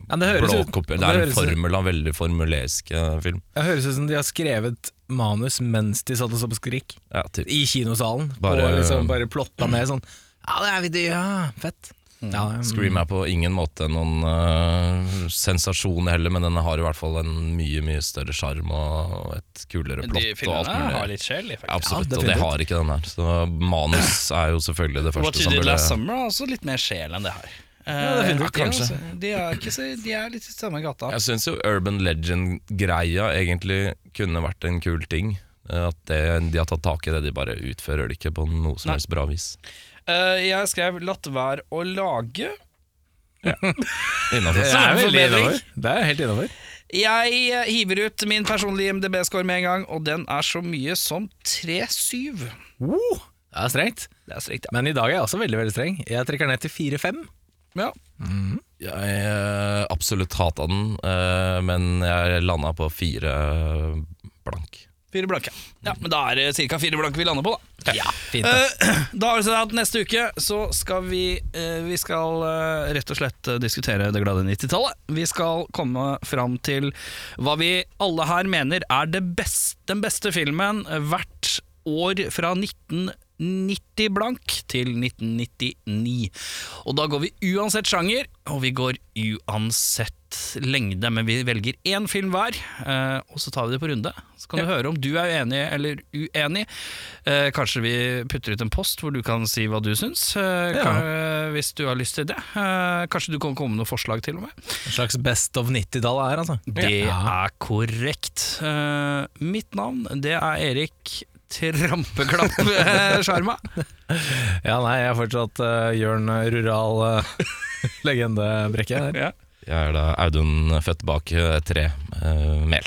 C: Ja, det høres ut-
A: blåkopiert. Det
C: det
A: er
C: høres
A: en
C: ut-
A: formel av veldig formulerisk eh, film.
C: Det høres ut som de har skrevet manus mens de satt og så på Skrik.
A: Ja, typ.
C: I kinosalen. Bare,
A: Bare-
C: og liksom bare plotta ned sånn Ja, det er vi, ja, fett. Ja, mm.
A: Scream er på ingen måte noen eh, sensasjon heller, men den har i hvert fall en mye mye større sjarm og og et kulere
B: De
A: plott. og alt
B: filmene
A: mulig.
B: har litt sjel, de, faktisk.
A: Absolutt,
C: Ja,
A: og det
C: definitivt.
A: har ikke den her. Så manus er jo selvfølgelig det
B: What
A: første
B: You
A: som
B: Did
A: burde
B: Last Summer har også litt mer sjel enn det her.
C: det er fint,
B: Eh,
C: kanskje.
B: altså. De er, ikke så, de er litt i samme gata.
A: Jeg syns jo urban legend-greia egentlig kunne vært en kul ting. Eh, At det, de har tatt tak i det, de bare utfører det ikke på noe som
B: Nei.
A: helst bra vis.
B: Eh, jeg skrev 'latt være å lage'.
A: Innenfor.
C: Det er
B: Som en
C: veldig
B: forbedring.
C: innafor. Det er helt innafor.
B: Jeg eh, hiver ut min personlige MDB-score med en gang, og den er så mye som 3-7.
C: Wow, det er strengt.
B: Det er strikt, ja.
C: Men i dag er jeg også veldig veldig streng. Jeg trekker ned til 4-5.
B: ja.
A: Jeg eh, absolutt hata den, eh, men jeg landa på fire eh, blank.
B: Fire blanke. Ja, Men da er det ca. fire blanke vi lander på, da.
C: Ja, fint. da.
B: Eh, Da har vi sett at neste uke så skal vi eh, Vi skal eh, rett og slett eh, diskutere det glade 90-tallet. Vi skal komme fram til hva vi alle her mener er det best, den beste filmen eh, hvert år fra 1990 blank til 1999. Og da går vi uansett sjanger, og vi går uansett lengde, men vi velger én film hver, eh, og så tar vi det på runde. Så kan du høre om du er enig eller uenig. Eh, kanskje vi putter ut en post hvor du kan si hva du syns, eh,
C: Ja.
B: kan- eh, hvis du har lyst til det. Eh, kanskje du kan komme med noen forslag, til og med.
C: En slags best of 90-tallet her, altså.
B: Det
C: ja.
B: er korrekt. Eh, mitt navn, det er Erik eh, Trampeklapp Sjarma.
C: ja, nei, jeg er fortsatt uh, Jørn Rural uh, legendebrekke her.
B: ja.
A: Jeg er da Audun født bak eh, tre eh, mel.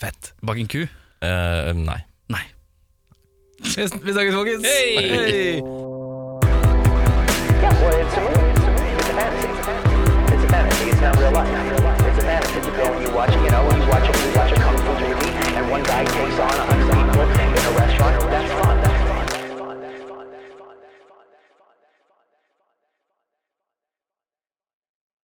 C: Fett.
B: Bak en ku?
A: Eh, nei.
B: Nei.
C: Vi vi snakkes, folkens.
B: Hei!
D: Yeah, well, it's a movie. It's a movie. It's a fantasy. It's a fantasy. It's not real life. It's a fantasy. You go and you watch it, you know, and you watch it, you watch it come guy takes on a